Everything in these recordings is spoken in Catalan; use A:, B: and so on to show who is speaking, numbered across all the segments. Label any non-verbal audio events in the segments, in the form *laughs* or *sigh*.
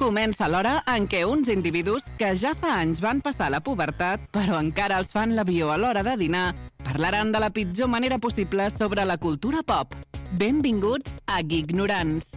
A: Comença l'hora en què uns individus que ja fa anys van passar la pubertat, però encara els fan l'avió a l'hora de dinar, parlaran de la pitjor manera possible sobre la cultura pop. Benvinguts a Gignorants.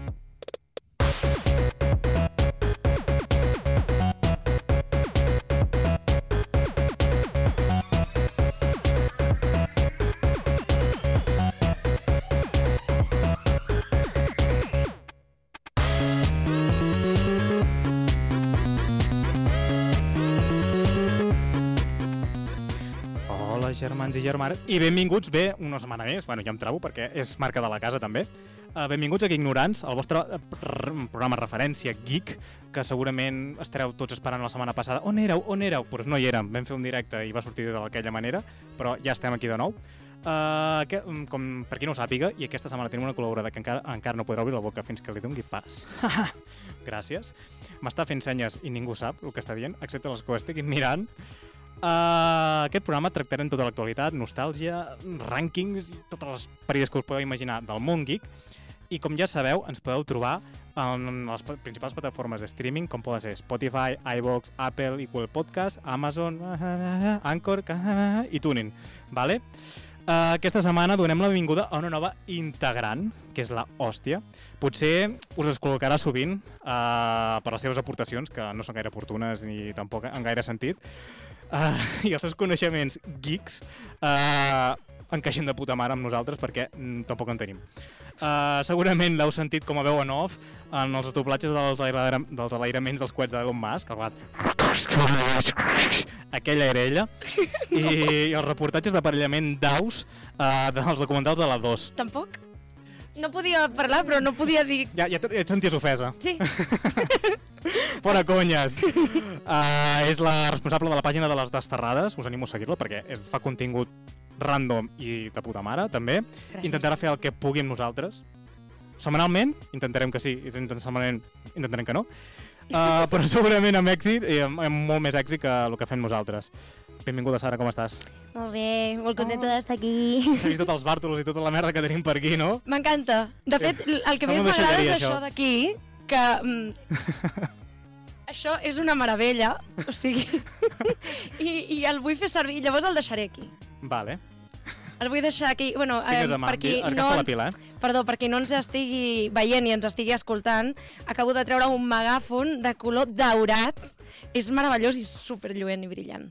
B: Hola, germans i germanes, i benvinguts bé una setmana més, bueno, ja em trabo perquè és marca de la casa també. Eh, benvinguts a Ignorants, el vostre eh, r- programa referència geek, que segurament estareu tots esperant la setmana passada. On éreu? On éreu? Doncs no hi érem, vam fer un directe i va sortir d'aquella manera, però ja estem aquí de nou. Uh, que, mm, com per qui no ho sàpiga, i aquesta setmana tenim una col·laborada que encara, encara no podrà obrir la boca fins que li dongui pas. *laughs* Gràcies. M'està fent senyes i ningú sap el que està dient, excepte les que ho estiguin mirant. Uh, aquest programa tractarem tota l'actualitat, nostàlgia, rànquings i totes les perilles que us podeu imaginar del món geek. I com ja sabeu, ens podeu trobar en les pa- principals plataformes de streaming, com poden ser Spotify, iVox, Apple, i Google Podcast, Amazon, *laughs* Anchor *laughs* i TuneIn. Vale? Uh, aquesta setmana donem la benvinguda a una nova integrant, que és la Hòstia. Potser us es col·locarà sovint uh, per les seves aportacions, que no són gaire oportunes ni tampoc en gaire sentit, uh, *laughs* i els seus coneixements geeks uh, encaixen de puta mare amb nosaltres perquè mm, tampoc en tenim. Uh, segurament l'heu sentit com a veu en off en els doblatges dels, aire, dels alairaments dels coets d'Elon Musk, el bat... Aquella era ella. I, i els reportatges d'aparellament d'aus uh, dels documentals de la 2.
C: Tampoc? No podia parlar, però no podia dir...
B: Ja, ja, te- ja et senties ofesa. *laughs*
C: Sí,
B: Fora conyes! *laughs* Uh, és la responsable de la pàgina de les desterrades, us animo a seguir-la perquè és, fa contingut random i de puta mare, també.
C: gràcies.
B: Intentarà fer el que pugui amb nosaltres. Setmanalment intentarem que sí, i intent- setmanalment intentarem que no.
C: *laughs*
B: Uh, però segurament amb èxit, i amb, amb molt més èxit que el que fem nosaltres. Benvinguda, Sara, com estàs?
D: Molt bé, molt contenta
C: Oh.
D: d'estar aquí.
B: He vist tots els bàrtols i tota la merda que tenim per aquí, no?
C: M'encanta. De fet, l- el que
B: Sembla
C: més
B: una
C: m'agrada és
B: deixalleria,
C: això
B: això.
C: d'aquí, que... Mm,
B: *laughs*
C: això és una meravella, o sigui... *laughs* i, I el vull fer servir, llavors el deixaré aquí.
B: Vale.
C: El vull deixar aquí, bueno, eh,
B: Tingues a mà.
C: per qui
B: Arcasta
C: no
B: la
C: ens,
B: pila, eh?
C: perdó, per qui no ens estigui veient i ens estigui escoltant, acabo de treure un megàfon de color daurat. És meravellós i superlluent i brillant.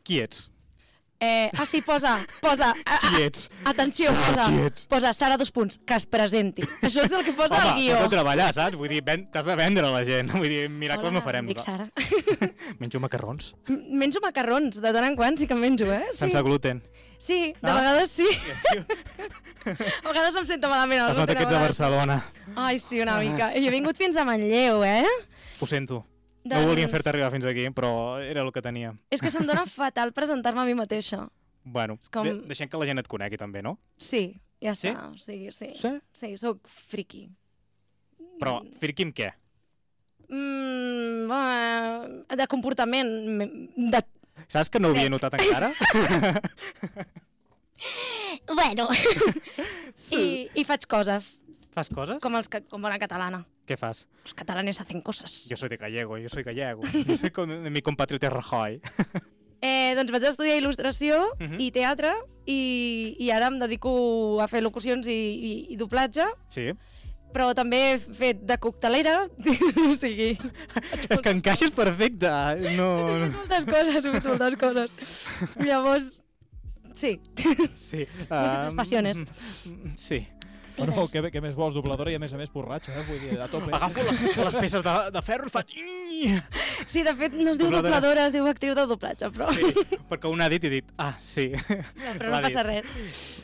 B: Qui ets?
C: Eh, ah, sí, posa, posa. Ah, ah,
B: Qui
C: *laughs*
B: ets?
C: Atenció,
B: Sara, qui
C: posa,
B: ets?
C: posa Sara dos punts, que es presenti. Això és el que posa
B: Home,
C: el guió.
B: t'has de treballar, saps? Vull dir, ven- t'has de vendre a la gent. *laughs* Vull dir, miracles no farem.
C: dic Sara.
B: *laughs* Menjo macarrons,
C: M- Menjo macarrons, de tant en quant sí que en menjo, eh? Sí,
B: sense gluten.
C: *laughs* sí de
B: Ah.
C: vegades sí. a vegades em sento malament. a
B: Es
C: les
B: nota que ets de Ah.
C: últimes
B: Barcelona.
C: vegades. Ai, sí, una mica. I he vingut fins a Manlleu, eh?
B: Ho sento. No
C: Doncs
B: volíem fer-te arribar fins aquí, però era el que tenia.
C: És que se'm dona fatal presentar-me a mi mateixa.
B: Bueno,
C: És com-
B: de deixem que la gent et conegui també, no?
C: Sí, ja
B: Sí?
C: està. O sigui, sí, sí.
B: Sí?
C: Sí, sóc friki.
B: Però, Firqui, amb què?
C: Mm, eh, de comportament, me- de
B: Saps que no ho havia notat encara?
D: *laughs* Bueno,
C: *laughs* Sí. I, I faig coses,
B: Fas coses?
C: com, els, ca- com bona catalana.
B: Què fas?
C: Els catalanes hacen coses.
B: Jo soy de gallego, yo soy gallego. *laughs* Yo soy con mi compatriota Rajoy.
C: Eh, doncs vaig estudiar il·lustració
B: Mhm.
C: i teatre i, i ara em dedico a fer locucions i, i, i doblatge,
B: Sí?
C: però també he fet de coctelera, *laughs* o sigui,
B: És que encaixes perfecte. No...
C: moltes coses, he fet moltes coses. Llavors, sí, *laughs*
B: Sí. ah,
C: Múltiples passiones.
B: mm, Sí.
E: Bueno, què, què més vols, dobladora i a més a més borratxa, eh? Vull dir, a tope.
B: Agafo les, les peces de, de ferro i faig... Sí,
C: sí, de fet no es diu
B: Dobladora.
C: dobladora, es diu actriu de doblatge, però,
B: perquè un ha dit i he dit, ah, sí.
C: però
B: l'ha
C: no passa
B: dit.
C: res.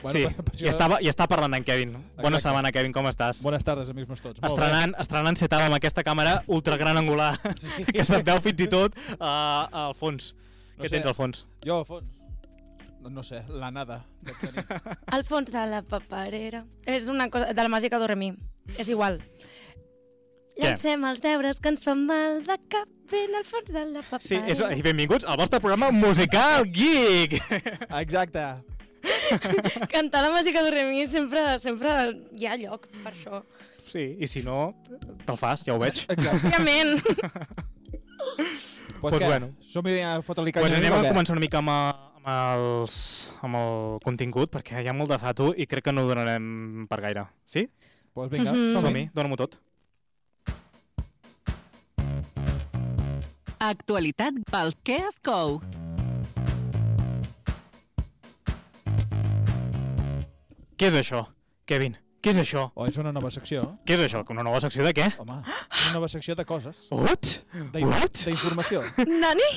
B: Bueno,
E: *laughs*
B: sí, i, estava, i està parlant en Kevin. Bona
E: Exacte.
B: setmana, Kevin, com estàs?
E: Bones tardes, amics meus tots. Molt bé.
B: Estrenant, estrenant setava amb aquesta càmera ultra gran angular, sí. que se't veu fins i tot uh, al fons.
E: No
B: Què
E: sé.
B: tens al fons?
E: Jo, a fons. No, no sé, la nada. dec tenir.
B: *laughs*
C: Al fons de la paperera. És una cosa de la màgica d'Oremí. És igual.
B: Què?
C: Llancem els deures que ens fan mal de cap ben al fons de la paperera.
B: Sí, és, i benvinguts al vostre programa musical geek!
E: Exacte.
C: Cantar la música d'Oremí sempre, sempre hi ha lloc per això.
B: Sí, i si no, te'l fas, ja ho veig.
E: Exacte.
C: Òbviament.
E: Pues,
B: Pues
E: què?
B: bueno.
E: Som-hi a fotre-li
B: Pues
E: canya.
B: Doncs anem
E: o
B: a
E: què?
B: començar una mica amb, eh, amb, els, amb el contingut, perquè hi ha molt de fato i crec que no ho donarem per gaire. Sí?
E: Pues vinga,
C: Mhm.
E: som-hi.
B: Som-hi, dona-m'ho tot.
A: Actualitat pel que es cou.
B: Què és això, Kevin? Què és això?
E: Oh, és una nova secció.
B: Què és això? Una nova secció de què?
E: Home, una nova secció de coses.
B: What?
E: De-
B: Oh, What? *laughs*
E: D'informació.
C: *laughs* Nani?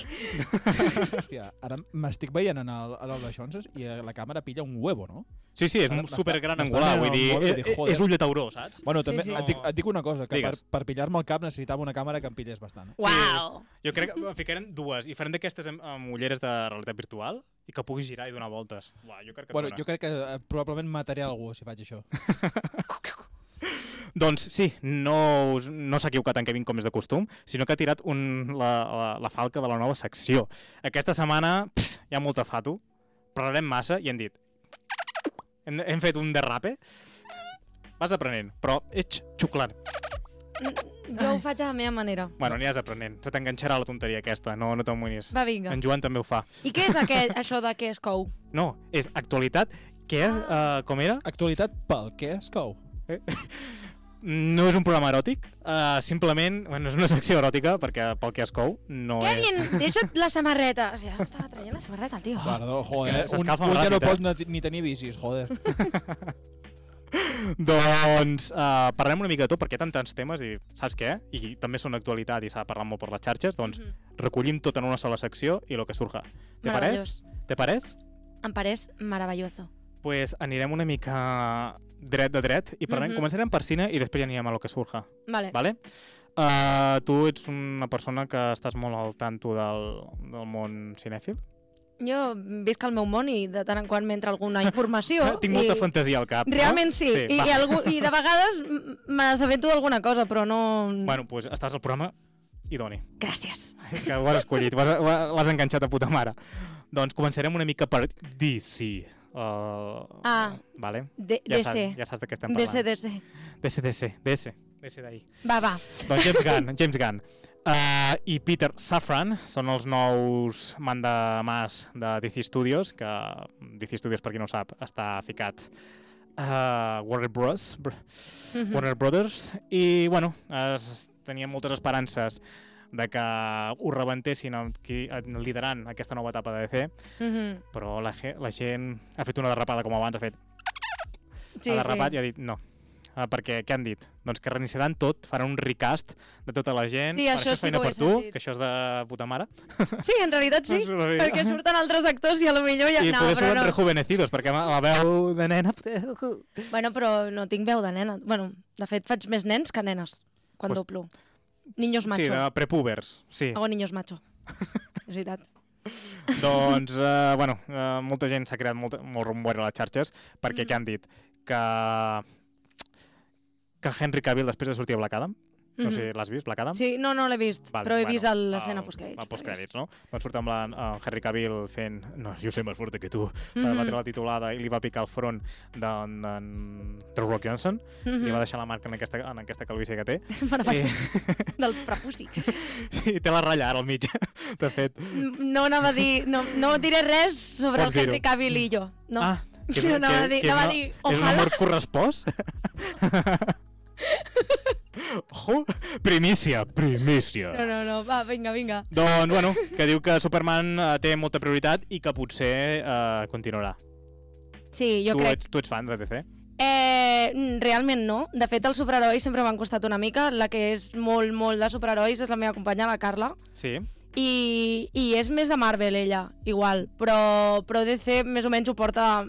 E: Hòstia, ara m'estic veient en el, en el de Xonses i eh, la càmera pilla un huevo, no?
B: Sí, sí, és
E: Ara
B: un
E: m'està-
B: supergran
E: m'està
B: angular, vull
E: mirant
B: dir,
E: el mòbil i
B: és,
E: dic, joder.
B: és un lletauró, saps?
E: Bueno, també
C: sí.
E: et, dic, et dic una cosa, que per,
B: Digues.
E: per pillar-me el cap necessitava una càmera que em pillés bastant. eh?
D: Uau.
B: Jo crec que en ficarem dues i farem d'aquestes amb, amb ulleres de realitat virtual i que puguis girar i donar voltes. Uah, jo crec que
E: Bueno,
B: et
E: jo
B: dona.
E: crec que eh, probablement mataré algú si faig això.
B: Doncs sí, no, us- no s'ha equivocat en Kevin com és de costum, sinó que ha tirat un, la, la, la falca de la nova secció. Aquesta setmana pss, hi ha molta fato, parlarem massa i hem dit... Hem, hem fet un derrape. Vas aprenent, però ets xuclant.
C: Jo ho faig a la meva manera.
B: Bueno, aniràs aprenent. Se t'enganxarà la tonteria aquesta, no, no t'amoïnis.
C: Va, vinga.
B: En Joan també ho fa.
C: I què és aquell, això de què
B: *laughs*
C: es cou?
B: No, és actualitat, que és, uh, com era?
E: Actualitat pel que es cou.
B: No és un programa eròtic, uh, simplement, bueno, és una secció eròtica, perquè pel que es cou no és...
C: Kevin, deixa't la samarreta. O sigui, ja s'estava traient la samarreta, el tio.
E: Perdó, joder, un,
B: s'escalfa
E: un ja no
B: ràpid, eh?
E: pot ni, ni tenir bicis, joder.
B: Doncs uh, parlem una mica de tot, perquè hi ha tants temes i saps què? I també són actualitat i s'ha parlat molt per les xarxes, doncs
C: Mhm.
B: recollim tot en una sola secció i lo que surja. Te pareix?
C: Meravellós.
B: Te pareix?
C: Em pareix meravelloso.
B: Pues anirem una mica dret de dret i parlem,
C: Mhm.
B: començarem per cine i després ja anirem a lo que surja.
C: Vale.
B: Vale? Uh, tu ets una persona que estàs molt al tanto del, del món cinèfil.
C: Jo visc al meu món i de tant en quant m'entra alguna informació.
B: *laughs* Tinc molta
C: i...
B: fantasia al cap.
C: Realment sí,
B: Sí,
C: I,
B: va.
C: i, algú, i de vegades m- me n'assabento d'alguna cosa, però no...
B: No? Bueno, doncs estàs al programa i doni.
C: Gràcies.
B: És *laughs* que ho has escollit, ho has- ho ha- l'has enganxat a puta mare. Doncs començarem una mica per DC. Uh,
C: Ah.
B: Vale.
C: D
B: Ja
C: DC.
B: saps, ja saps de què estem
C: DC,
B: parlant.
C: DC.
B: DC, DC, DC, DC d'ahir.
C: Va, va.
B: Doncs James Gunn, James Gunn. Uh, i Peter Safran són els nous mandamàs de DC Studios, que DC Studios, per qui no ho sap, està ficat uh, Warner Bros. Br
C: Mhm.
B: Warner Brothers, i bueno, es, tenia moltes esperances de que ho rebentessin amb qui, en- liderant aquesta nova etapa de DC,
C: Mhm.
B: però la, ge- la gent ha fet una derrapada com abans, ha fet
C: Sí,
B: ha derrapat
C: sí.
B: i ha dit no. Ah, perquè què han dit? Doncs que reiniciaran tot, faran un recast de tota la gent.
C: Sí,
B: Bueno,
C: això
B: és
C: sí
B: feina
C: que ho
B: per
C: he
B: tu,
C: sentit.
B: que això és de puta mare.
C: sí, en realitat sí,
B: Doncs una mica.
C: perquè surten altres actors i a lo millor ja...
B: I
C: no,
B: poder
C: però
B: ser
C: no.
B: rejuvenecidos, perquè amb la veu de nena...
C: Bueno, però no tinc veu de nena. Bueno, de fet, faig més nens que nenes quan
B: Pues-
C: pues... doblo. Niños macho. Ah,
B: Sí, de prepúbers. Sí.
C: Hago niños macho. És veritat.
B: Doncs, eh, bueno, eh, molta gent s'ha creat molt, molt rumor a les xarxes
C: Mm.
B: perquè què han dit? Que, que Henry Cavill després de sortir a Black Adam, no
C: Mm-hmm.
B: sé, l'has vist, Black Adam?
C: Mhm. Sí, no, no l'he vist,
B: Vale,
C: però he
B: bueno,
C: vist el- l'escena
B: el-
C: postcrèdits.
B: El
C: *laughs*
B: postcrèdits, no? Doncs surt amb la, eh, Henry Cavill fent no, jo sé més forte que tu, mm -hmm. va
C: Mhm.
B: treure la titulada i li va picar el front d'en d'en- de Rock Johnson, mm
C: Mhm.
B: -hmm. i va deixar la marca en aquesta, en aquesta calvície que té. *laughs*
C: Meravellós.
B: I,
C: *laughs* Del prepuci.
B: sí, té la ratlla ara al mig, *laughs* de fet.
C: No anava a dir... No, no diré res sobre
B: Pots
C: el Henry
B: dir-ho.
C: Cavill i jo. No.
B: Ah,
C: *laughs*
B: que és,
C: No,
B: que,
C: anava a dir-
B: que és
C: anava a
B: una-
C: dir,
B: és un
C: ojalá.
B: amor
C: *laughs*
B: correspost? Ojo, primícia, primícia.
C: No, no, no. Va, vinga, vinga.
B: Doncs, bueno, que diu que Superman eh, té molta prioritat i que potser eh, continuarà.
C: Sí, jo
B: tu,
C: crec.
B: ets, tu ets fan de DC?
C: Eh, mm, realment no. De fet, els superherois sempre m'han costat una mica. La que és molt, molt de superherois és la meva companya, la Carla.
B: Sí.
C: I, i és més de Marvel, ella, igual. Però, però DC més o menys ho porta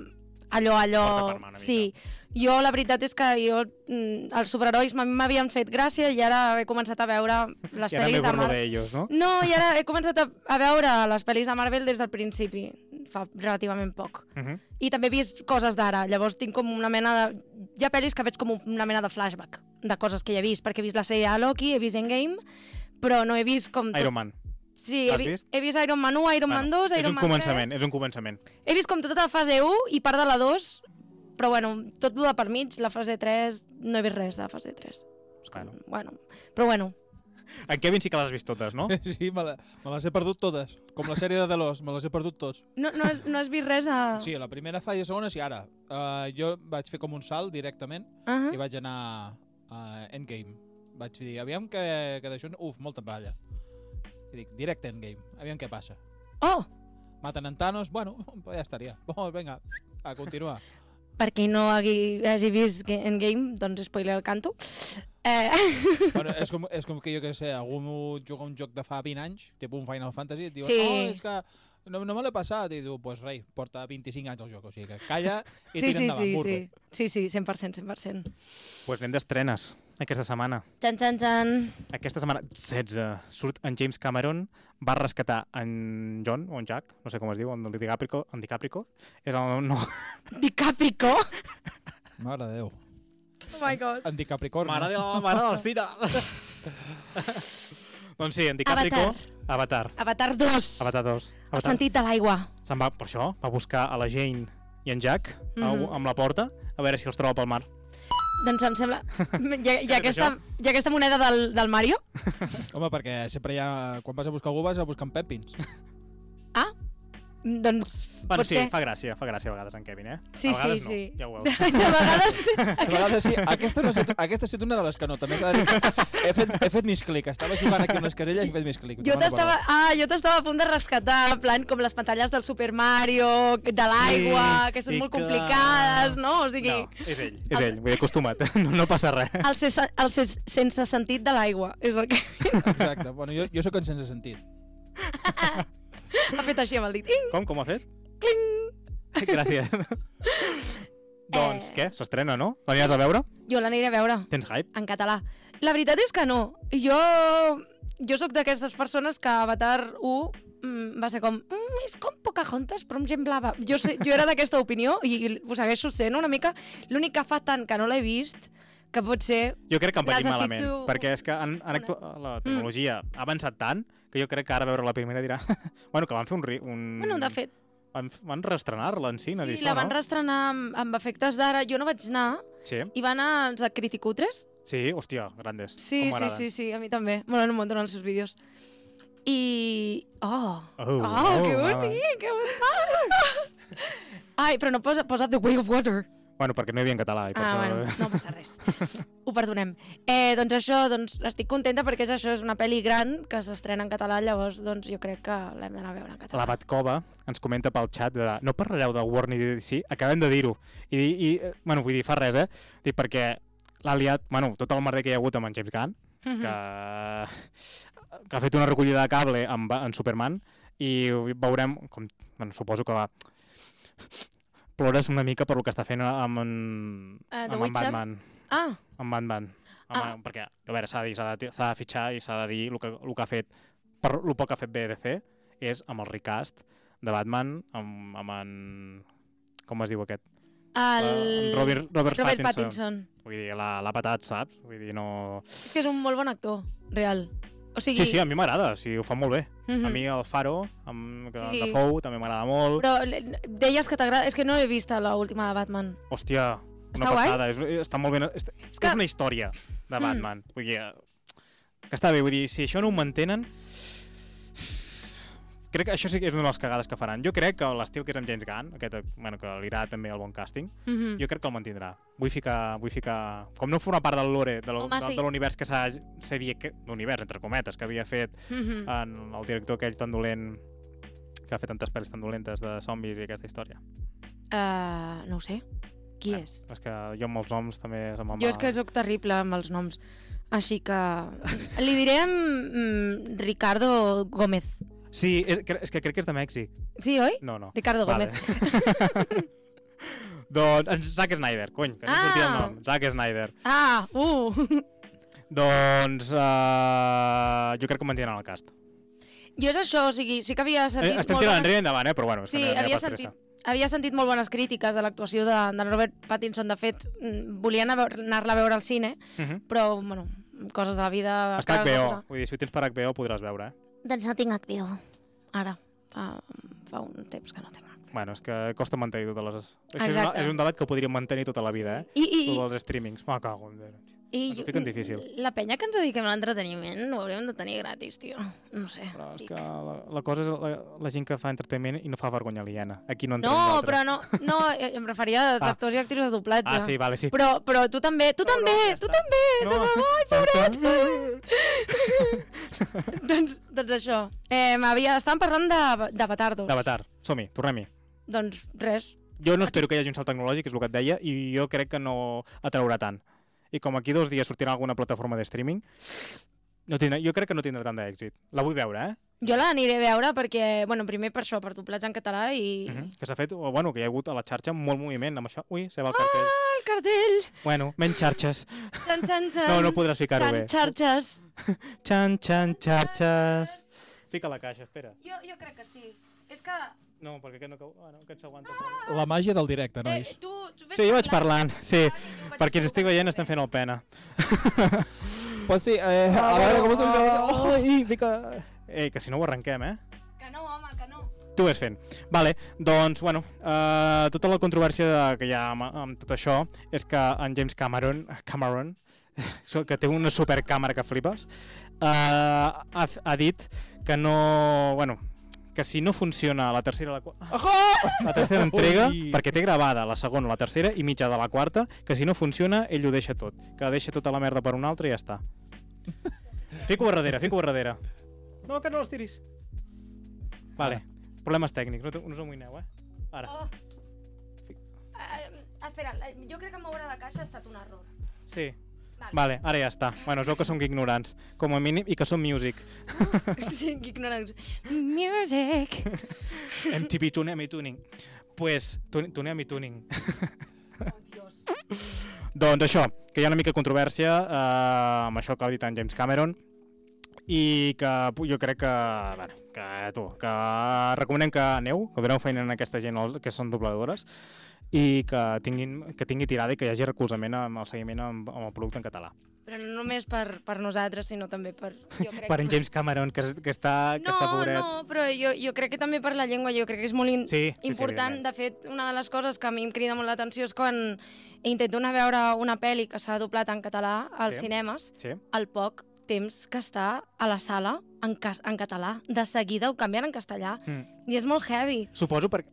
C: allò, allò...
B: Porta per mà una
C: sí. Jo, la veritat és que jo, mm, els superherois m'ha- m'havien fet gràcia i ara he començat a veure les
B: I ara
C: pel·lis
B: me
C: de
B: borro
C: Marvel.
B: d'ells, no?
C: No, i ara he començat a, a veure les pel·lis de Marvel des del principi, fa relativament poc.
B: Uh -huh.
C: I també he vist coses d'ara, llavors tinc com una mena de... Hi ha pel·lis que veig com una mena de flashback de coses que ja he vist, perquè he vist la sèrie de Loki, he vist Endgame, però no he vist com... tot-
B: Iron Man.
C: Sí, he,
B: L'has
C: vi
B: vist?
C: he vist Iron Man 1, Iron Man 2,
B: és
C: Iron
B: un
C: Man
B: començament,
C: 3...
B: és un començament.
C: He vist com tota la fase 1 i part de la 2, però bueno, tot el de per mig, la fase 3, no he vist res de la fase 3.
B: Bueno.
C: Bueno, però bueno,
B: En Kevin sí que l'has vist totes,
C: *laughs*
B: no?
E: *laughs* Sí, me, la, me les he perdut totes. Com la sèrie de Delors, me les he perdut tots.
C: no, no, has, no has vist res de...
E: Sí, la primera fase i segona, sí, ara. Uh, jo vaig fer com un salt directament
C: Uh -huh.
E: i vaig anar a Endgame. Vaig dir, aviam que, que d'això... Uf, molta palla. I dic, directe Endgame, aviam què passa.
C: Oh,
E: Maten en Thanos, bueno, *laughs* pues ja estaria. Vamos, venga, a continuar.
C: per qui no hagi, hagi vist Ga- Endgame, doncs spoiler el canto. Eh,
E: bueno, és, com, és com que jo que sé, algú juga un joc de fa 20 anys, tipus un Final Fantasy, et diuen,
C: Sí.
E: sí. oh, és que no, no me l'he passat, i diu, pues rei, porta 25 anys al joc, o sigui que calla i
C: sí,
E: tira
C: sí,
E: endavant,
C: sí,
E: burro.
C: sí, sí, sí, 100%, 100%.
B: Doncs pues anem d'estrenes aquesta setmana.
C: Tan, tan, tan.
B: Aquesta setmana 16 surt en James Cameron, va rescatar en John o en Jack, no sé com es diu, en DiCaprio, en DiCaprio. És el, no,
C: DiCaprico?
E: Mare de Déu.
C: Oh my god.
E: En Capricorn. eh?
B: la mare del Cira. *laughs* doncs sí, en DiCaprio, Avatar.
C: Avatar 2.
B: Avatar 2.
C: El
B: Avatar.
C: sentit de l'aigua.
B: Se'n va, per això, va buscar a la Jane i en Jack mm
C: Mhm.
B: -hmm. amb la porta, a veure si els troba pel mar.
C: Doncs em
B: *laughs*
C: sembla... Hi ha, hi
B: fet
C: ha, aquesta, hi ha aquesta moneda del, del Mario?
E: Home, perquè sempre hi ha... Quan vas a buscar algú vas a buscar en Pepins.
C: Mm, Doncs
B: Bueno,
C: pot
B: sí,
C: ser...
B: fa gràcia, fa gràcia a vegades en Kevin, eh?
C: Sí,
B: a vegades
C: sí,
B: no,
C: sí.
B: ja ho veus.
C: *laughs*
B: *laughs*
C: De vegades sí.
E: A vegades sí, aquesta, no ha estat, aquesta ha estat una de les que no, també s'ha de dir. He fet, he fet mis clics, estava jugant aquí amb les caselles i he fet mis clics.
C: Jo t'estava ah, jo t'estava a punt de rescatar, en plan, com les pantalles del Super Mario, de l'aigua,
B: Sí,
C: que són
B: i
C: molt
B: clar.
C: complicades, no? O sigui,
B: No, és ell, és
C: Els-
B: ell, vull dir, acostumat, *laughs* no, no passa
C: *laughs*
B: res.
C: el, ses, el ses, sense sentit de l'aigua és el que *laughs*
E: Exacte, bueno, jo, jo sóc en sense sentit.
C: ha fet així amb el dit. Ing!
B: Com, com ha fet? Cling!
C: *laughs*
B: Gràcies. *laughs* doncs,
C: Eh.
B: què? S'estrena, no? L'aniràs a veure?
C: Jo l'aniré a veure.
B: Tens hype?
C: en català. La veritat és que no. Jo, jo sóc d'aquestes persones que Avatar 1 mm, va ser com, mm, és com Pocahontas, però em semblava... Jo, sé, jo era d'aquesta opinió i, i ho segueixo sent una mica. L'únic que fa tant que no l'he vist, que pot ser...
B: Jo crec que han patit
C: Necessito
B: malament, perquè és que han, han
C: una.
B: actu... la tecnologia mm. ha avançat tant que jo crec que ara veure la primera dirà... *laughs* bueno, que van fer un... Ri... un...
C: Bueno, de fet,
B: Van, van reestrenar-la en cines i
C: sí,
B: això,
C: la van
B: no?
C: reestrenar amb, amb efectes d'ara. Jo no vaig anar.
B: Sí,
C: I van anar els de Criticutres,
B: sí, hòstia, grandes.
C: Sí, sí, sí, sí, a mi també. M'agraden un munt els seus vídeos. I... Oh!
B: Oh,
C: Oh, oh,
B: oh,
C: que
B: mama.
C: bonic, que bonic! *laughs* Ai, però no posa, posa The Way of Water.
B: Bueno, perquè no hi havia en català, i per
C: Ah,
B: això...
C: bueno, no passa res. Ho perdonem. Eh, doncs això, doncs estic contenta perquè és això, és una pel·li gran que s'estrena en català, llavors doncs jo crec que l'hem d'anar a veure
B: *laughs* La
C: en català.
B: Batcova ens comenta pel xat de no parlareu de Warner i DC, acabem de dir-ho. I, i, eh, bueno, vull dir, fa res, eh? Dic, perquè l'ha liat, bueno, tot el merder que hi ha hagut amb en James Gunn,
C: Mhm.
B: que, que ha fet una recollida de cable amb, en Superman, i ho veurem, com, bueno, suposo que va... Plores una mica per lo que està fent amb en,
C: Eh, The
B: amb en
C: Witcher?
B: Batman.
C: Ah,
B: Amb Batman. Amb,
C: Ah.
B: ah. Perquè, a veure, s'ha de dir, s'ha de, s'ha de fitxar i s'ha de dir el que, el que ha fet, per el poc que ha fet BDC, és amb el recast de Batman, amb, amb en... Com es diu aquest?
C: el...
B: Eh, en Robert, Robert,
C: Robert
B: Pattinson.
C: Pattinson.
B: Vull dir, l'ha l'ha patat, saps? Vull dir, no...
C: És que és un molt bon actor, real. O sigui...
B: Sí, sí, a mi m'agrada, o sigui, ho fa molt bé.
C: mhm.
B: A mi el Faro, amb, que
C: Sí.
B: sí. de Fou, també m'agrada molt.
C: Però l- deies que t'agrada... És que no he vist l'última de Batman.
B: Hòstia, una
C: Està guai?
B: passada. És, eh, està molt ben... És, és,
C: que-
B: que... és una història de Batman. Mm. Vull dir, eh, que està bé. Vull dir, si això no ho mantenen... Crec que això sí que és una de les cagades que faran. Jo crec que l'estil que és amb James Gunn, aquest, eh, bueno, que li irà també el bon càsting,
C: Mhm.
B: jo crec que el mantindrà. Vull ficar... Vull ficar... Com no forma part del lore, de lo-
C: Home,
B: de
C: sí.
B: de l'univers que s'ha... sabia que- L'univers, entre cometes, que havia fet
C: Mhm.
B: en el director aquell tan dolent que ha fet tantes pel·lis tan dolentes de zombis i aquesta història.
C: Eh, no ho sé. Qui és?
B: És que jo amb els noms també se me'n
C: Jo
B: va-
C: és que sóc terrible amb els noms. Així que... Li direm mm, Ricardo Gómez.
B: Sí, és, cre- és que crec que és de Mèxic.
C: Sí, oi?
B: No, no.
C: Ricardo Gómez.
B: *laughs* doncs en Zack Snyder, cony, que no ah. sortia el
C: Ah.
B: nom. Zack Snyder.
C: Ah, uh! *laughs*
B: Doncs uh, jo crec que mantindran el cast.
C: Jo és això, o sigui, sí que havia
B: Eh,
C: sentit
B: estem
C: molt
B: tirant
C: bones...
B: enrere i endavant, eh? però bueno, és
C: Sí,
B: que no hi ha
C: havia
B: pas pressa.
C: sentit, havia sentit molt bones crítiques de l'actuació de, de Robert Pattinson. De fet, mm, volia anar a veure- anar-la a veure al cine,
B: Uh -huh.
C: però, bueno, coses de la vida...
B: Està
C: encara es va
B: HBO,
C: posar.
B: vull dir, si ho tens per HBO ho podràs veure, eh?
D: Doncs no tinc HBO.
C: Ara, fa, fa un temps que no tinc.
B: Bueno, és que costa mantenir totes les... Això és, una,
C: Exacte.
B: és un debat que podríem mantenir tota la vida, eh?
C: I, i,
B: I... Tots els streamings. Me cago en Déu.
C: i,
B: ens ho
C: i
B: fiquen difícil.
C: la penya que ens dediquem a l'entreteniment ho hauríem de tenir gratis, tio. No sé.
B: Però és
C: dic.
B: que la, la cosa és la, la gent que fa entreteniment i no fa vergonya aliena. Aquí no entrem
C: No,
B: nosaltres.
C: però no, no, eh, em referia als
B: Ah.
C: actors i actrius de doblatge.
B: Ah, sí, vale, sí.
C: Però, però tu també, tu també,
B: ja
C: tu
B: està.
C: també, *laughs* de debò, ai, pobret.
B: pobret!
C: doncs, doncs això, eh, m'havia... estàvem parlant de- d'Avatar 2.
B: D'Avatar, som-hi, tornem-hi.
C: Doncs res,
B: Jo no espero que hi hagi un salt tecnològic, és el que et deia, i jo crec que no atraurà tant. I com aquí dos dies sortirà alguna plataforma de streaming, no tindrà, jo crec que no tindrà tant d'èxit. La vull veure, eh?
C: jo l'aniré a veure perquè, bueno, primer per això, per doblatge en català i...
B: Mm -hmm. Que s'ha fet, o, bueno, que hi ha hagut a la xarxa molt moviment amb això. Ui, se va el cartell.
C: Ah, el cartell!
B: Bueno, menys xarxes.
C: Xan, xan, xan!
B: No, no podràs ficar-ho
C: Xan,
B: bé.
C: xarxes!
B: Xan, xan, xarxes. Fica la caixa, espera.
C: Jo, jo crec que sí. És que... eh,
B: No, perquè aquest no cau... Bueno, aquest s'aguanta.
E: La màgia del directe, nois.
C: tu, tu
B: Doncs Sí, jo vaig parlant, sí. Perquè els estic veient, estan fent el pena.
E: Pues sí, eh, a veure com s'ho oh.
B: Ai, fica... Ei, que si no ho arrenquem, eh?
C: Que no, home, que no.
B: Tu ves fent. Vale, doncs, bueno, uh, tota la controvèrsia de, que hi ha amb, amb tot això és que en James Cameron, Cameron *laughs* so- que té una supercàmera que flipes, uh, ha, ha dit que no... Bueno, que si no funciona la tercera i la, qua- la tercera entrega,
E: Ui.
B: perquè té gravada la segona, la tercera i mitja de la quarta, que si no funciona, ell ho deixa tot. Que deixa tota la merda per un altre i ja està. Fico-ho a darrere, fico-ho a darrere. No, que no els tiris. Vale. Problemes tècnics, no, te- no us amoïneu, eh? Ara.
C: Oh. Uh, espera, la- jo crec que moure la caixa ha estat un
B: *laughs*
C: error.
B: Sí.
C: Vale.
B: Vale, ara ja està. Bueno, es veu que som ignorants, com a mínim, i que som music.
C: sí, que ignorants. Music. *laughs*
B: MTV Tunem i Tuning. Pues, tun- Tunem i Tuning.
C: Oh, Dios.
B: Doncs això, que hi ha una mica de controvèrsia eh, amb això que ha dit en James Cameron i que pu- jo crec que, bueno, que eh, tu, que recomanem que aneu, que doneu feina a aquesta gent al- que són dobladores i que, tinguin, que tingui tirada i que hi hagi recolzament amb el seguiment amb, amb el producte en català.
C: Però no només per, per nosaltres, sinó també per... Jo crec
B: Per en James Cameron, que, es- que, està, que
C: no,
B: està pobret.
C: no, però jo, jo crec que també per la llengua, jo crec que és molt in...
B: Sí, sí, sí,
C: important.
B: evidentment.
C: de fet, una de les coses que a mi em crida molt l'atenció és quan intento anar a veure una pel·li que s'ha doblat en català als
B: Sí.
C: cinemes,
B: Sí.
C: al poc temps que està a la sala en, ca en català. De seguida ho canvien en castellà.
B: Mm.
C: I és molt heavy.
B: Suposo perquè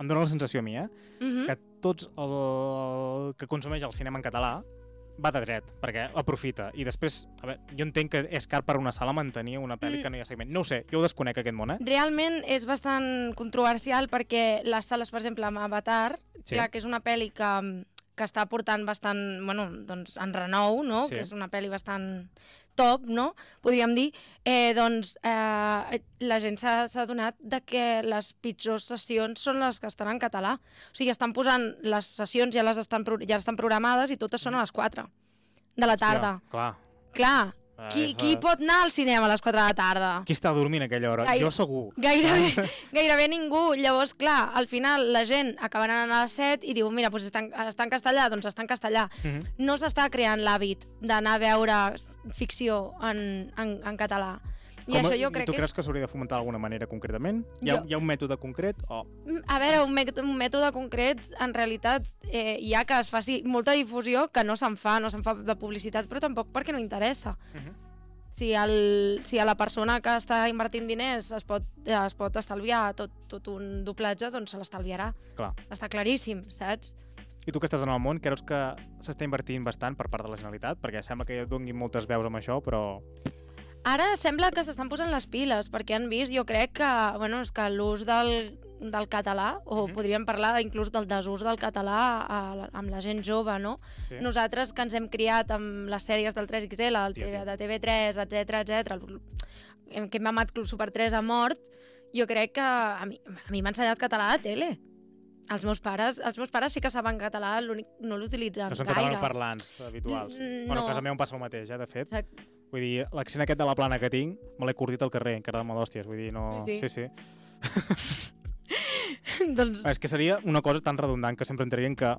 B: em dóna la sensació a mi, eh?
C: Mm
B: que tots el que consumeix el cinema en català va de dret, perquè aprofita. I després, a veure, jo entenc que és car per una sala mantenir una pel·li
C: Mm.
B: que no hi ha segment. No ho sé, jo ho desconec, aquest món, eh?
C: Realment és bastant controversial perquè les sales, per exemple, amb Avatar,
B: Sí.
C: sí. clar, que és una pel·li que, que està portant bastant, bueno, doncs en renou, no?
B: Sí.
C: Sí. Que és una pel·li bastant top, no? Podríem dir, eh, doncs eh, la gent s'ha s'ha adonat de que les pitjors sessions són les que estan en català. O sigui, estan posant les sessions, ja les estan, pro- ja estan programades i totes són a les 4 de la tarda.
B: Hòstia, clar.
C: Clar,
B: Eh,
C: qui,
B: fa-
C: qui pot anar al cinema a les 4 de la tarda?
B: Qui està dormint a aquella hora?
C: Ai.
B: Jo segur.
C: Gairebé, *laughs* gairebé ningú. Llavors, clar, al final la gent acabarà anant a les 7 i diu, mira, doncs està, en- està en castellà, doncs està en castellà.
B: Mhm.
C: No s'està creant l'hàbit d'anar a veure s- ficció en, en, en català. I
B: Com-
C: això jo crec
B: tu
C: que és...
B: creus que s'hauria de fomentar d'alguna manera concretament? Hi ha,
C: Jo-
B: hi ha un mètode concret? O...
C: Mm, A veure, un, mètode, un mètode concret, en realitat, eh, hi ha que es faci molta difusió que no se'n fa, no se'n fa de publicitat, però tampoc perquè no interessa.
B: Mhm.
C: si, el, si a la persona que està invertint diners es pot, eh, es pot estalviar tot, tot un doblatge, doncs se l'estalviarà.
B: Clar.
C: Està claríssim, saps?
B: I tu que estàs en el món, creus que s'està invertint bastant per part de la Generalitat? Perquè sembla que donguin moltes veus amb això, però...
C: Ara sembla que s'estan posant les piles, perquè han vist, jo crec que, bueno, és que l'ús del, del català, o
B: Mhm.
C: podríem parlar inclús del desús del català a, la- amb la gent jove, no?
B: Sí.
C: Nosaltres que ens hem criat amb les sèries del 3XL, el
B: Hòstia,
C: TV,
B: tio.
C: de TV3, etc etc, que hem amat Club Super 3 a mort, jo crec que a mi a mi m'ha ensenyat català a tele. Els meus pares, els meus pares sí que saben català, l'únic no l'utilitzen
B: No són
C: gaire.
B: catalanoparlants habituals.
C: Mm,
B: Bueno,
C: no.
B: a casa meva em passa el mateix, eh, de fet.
C: Exacte.
B: Vull dir, l'accent aquest de la plana que tinc, me l'he curtit al carrer, encara de d'hòsties. Vull dir, no... Sí,
C: Sí.
B: sí. sí.
C: *laughs* doncs,
B: És que seria una cosa tan redundant que sempre entraria en que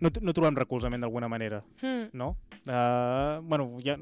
B: no, t- no trobem recolzament d'alguna manera,
C: hmm,
B: no? Uh, bueno, ja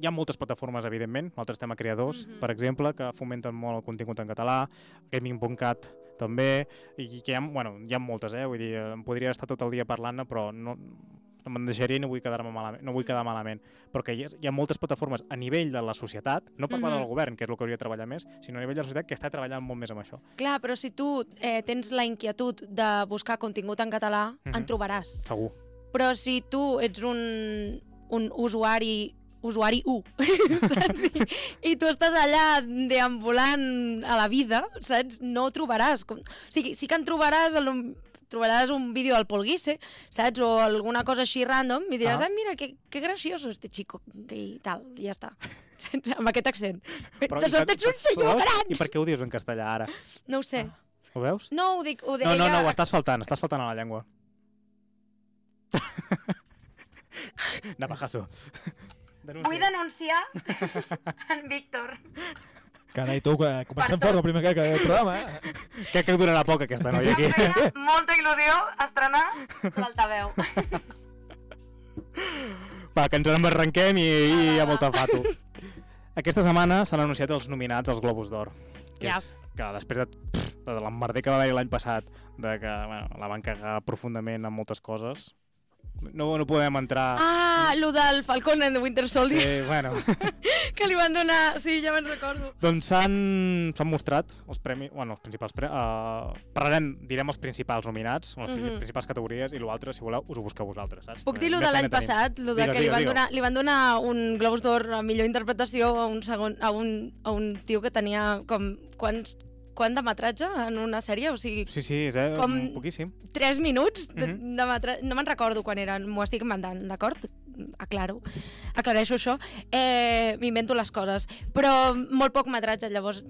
B: hi ha moltes plataformes, evidentment. Nosaltres estem a Creadors, mm
C: Mhm.
B: -hmm. per exemple, que fomenten molt el contingut en català, Gaming.cat també, i que hi ha, bueno, hi ha moltes, eh? Vull dir, eh, em podria estar tot el dia parlant-ne, però no, no me'n deixaria i no vull, quedar malament, no vull
C: Mhm.
B: quedar malament. Però que hi ha, hi ha moltes plataformes a nivell de la societat, no per part
C: Mhm.
B: del govern, que és el que hauria de treballar més, sinó a nivell de la societat que està treballant molt més amb això.
C: Clar, però si tu eh, tens la inquietud de buscar contingut en català,
B: Mhm.
C: en trobaràs.
B: Segur.
C: Però si tu ets un, un usuari usuari 1, *laughs* saps? I, I tu estàs allà deambulant a la vida, saps? No ho trobaràs. Com... O sigui, sí que en trobaràs el, trobaràs un vídeo al Polguise, saps? O alguna cosa així random, i diràs,
B: Ah.
C: ah, ah mira, que, que gracioso este chico, i tal, i ja està. *laughs* Saps? Amb aquest accent. Però, de
B: i per-
C: sobte ets un
B: però
C: senyor
B: veus?
C: gran!
B: I per què ho dius en castellà ara?
C: No ho sé.
B: Ho veus?
C: No, ho dic, ho deia...
B: No, no, no, ho estàs faltant, estàs faltant a la llengua. *laughs* Navajasso. *laughs*
C: Vull denunciar en Víctor.
E: Carai, tu, que comencem fort el primer que, que programa, eh?
B: Crec que durarà poc aquesta noia aquí.
C: feia molta il·lusió estrenar l'altaveu.
B: Va, que ens en arrenquem i, i hi ha molta fato. Aquesta setmana s'han anunciat els nominats als Globus d'Or. Que
C: Ja.
B: és que després de, pff, de l'emmerder que va haver l'any passat, de que bueno, la van cagar profundament en moltes coses, no, no podem entrar...
C: Ah, lo del Falcon and the Winter Soldier,
B: Eh, bueno,
C: que li van donar... Sí, ja me'n recordo.
B: doncs s'han s'han mostrat els premis, bueno, els principals premis, uh, parlarem, direm els principals nominats, les mm
C: Mhm.
B: -hmm. principals categories, i l'altre, si voleu, us ho busqueu vosaltres, saps? Eh,
C: Puc dir lo
B: Més
C: de l'any
B: feina tenim.
C: passat, lo de
B: Digues,
C: que li
B: digues,
C: van,
B: digues.
C: donar, li van donar un Globus d'Or a millor interpretació a un, segon, a un, a un tio que tenia com... Quants, quant de metratge en una sèrie? O sigui,
B: Sí, sí, és eh,
C: Com-
B: poquíssim.
C: 3 minuts de,
B: Mhm.
C: de metratge... No me'n recordo quan eren, m'ho estic inventant, d'acord? Aclaro. Aclareixo això. Eh, M'invento les coses. Però molt poc metratge, llavors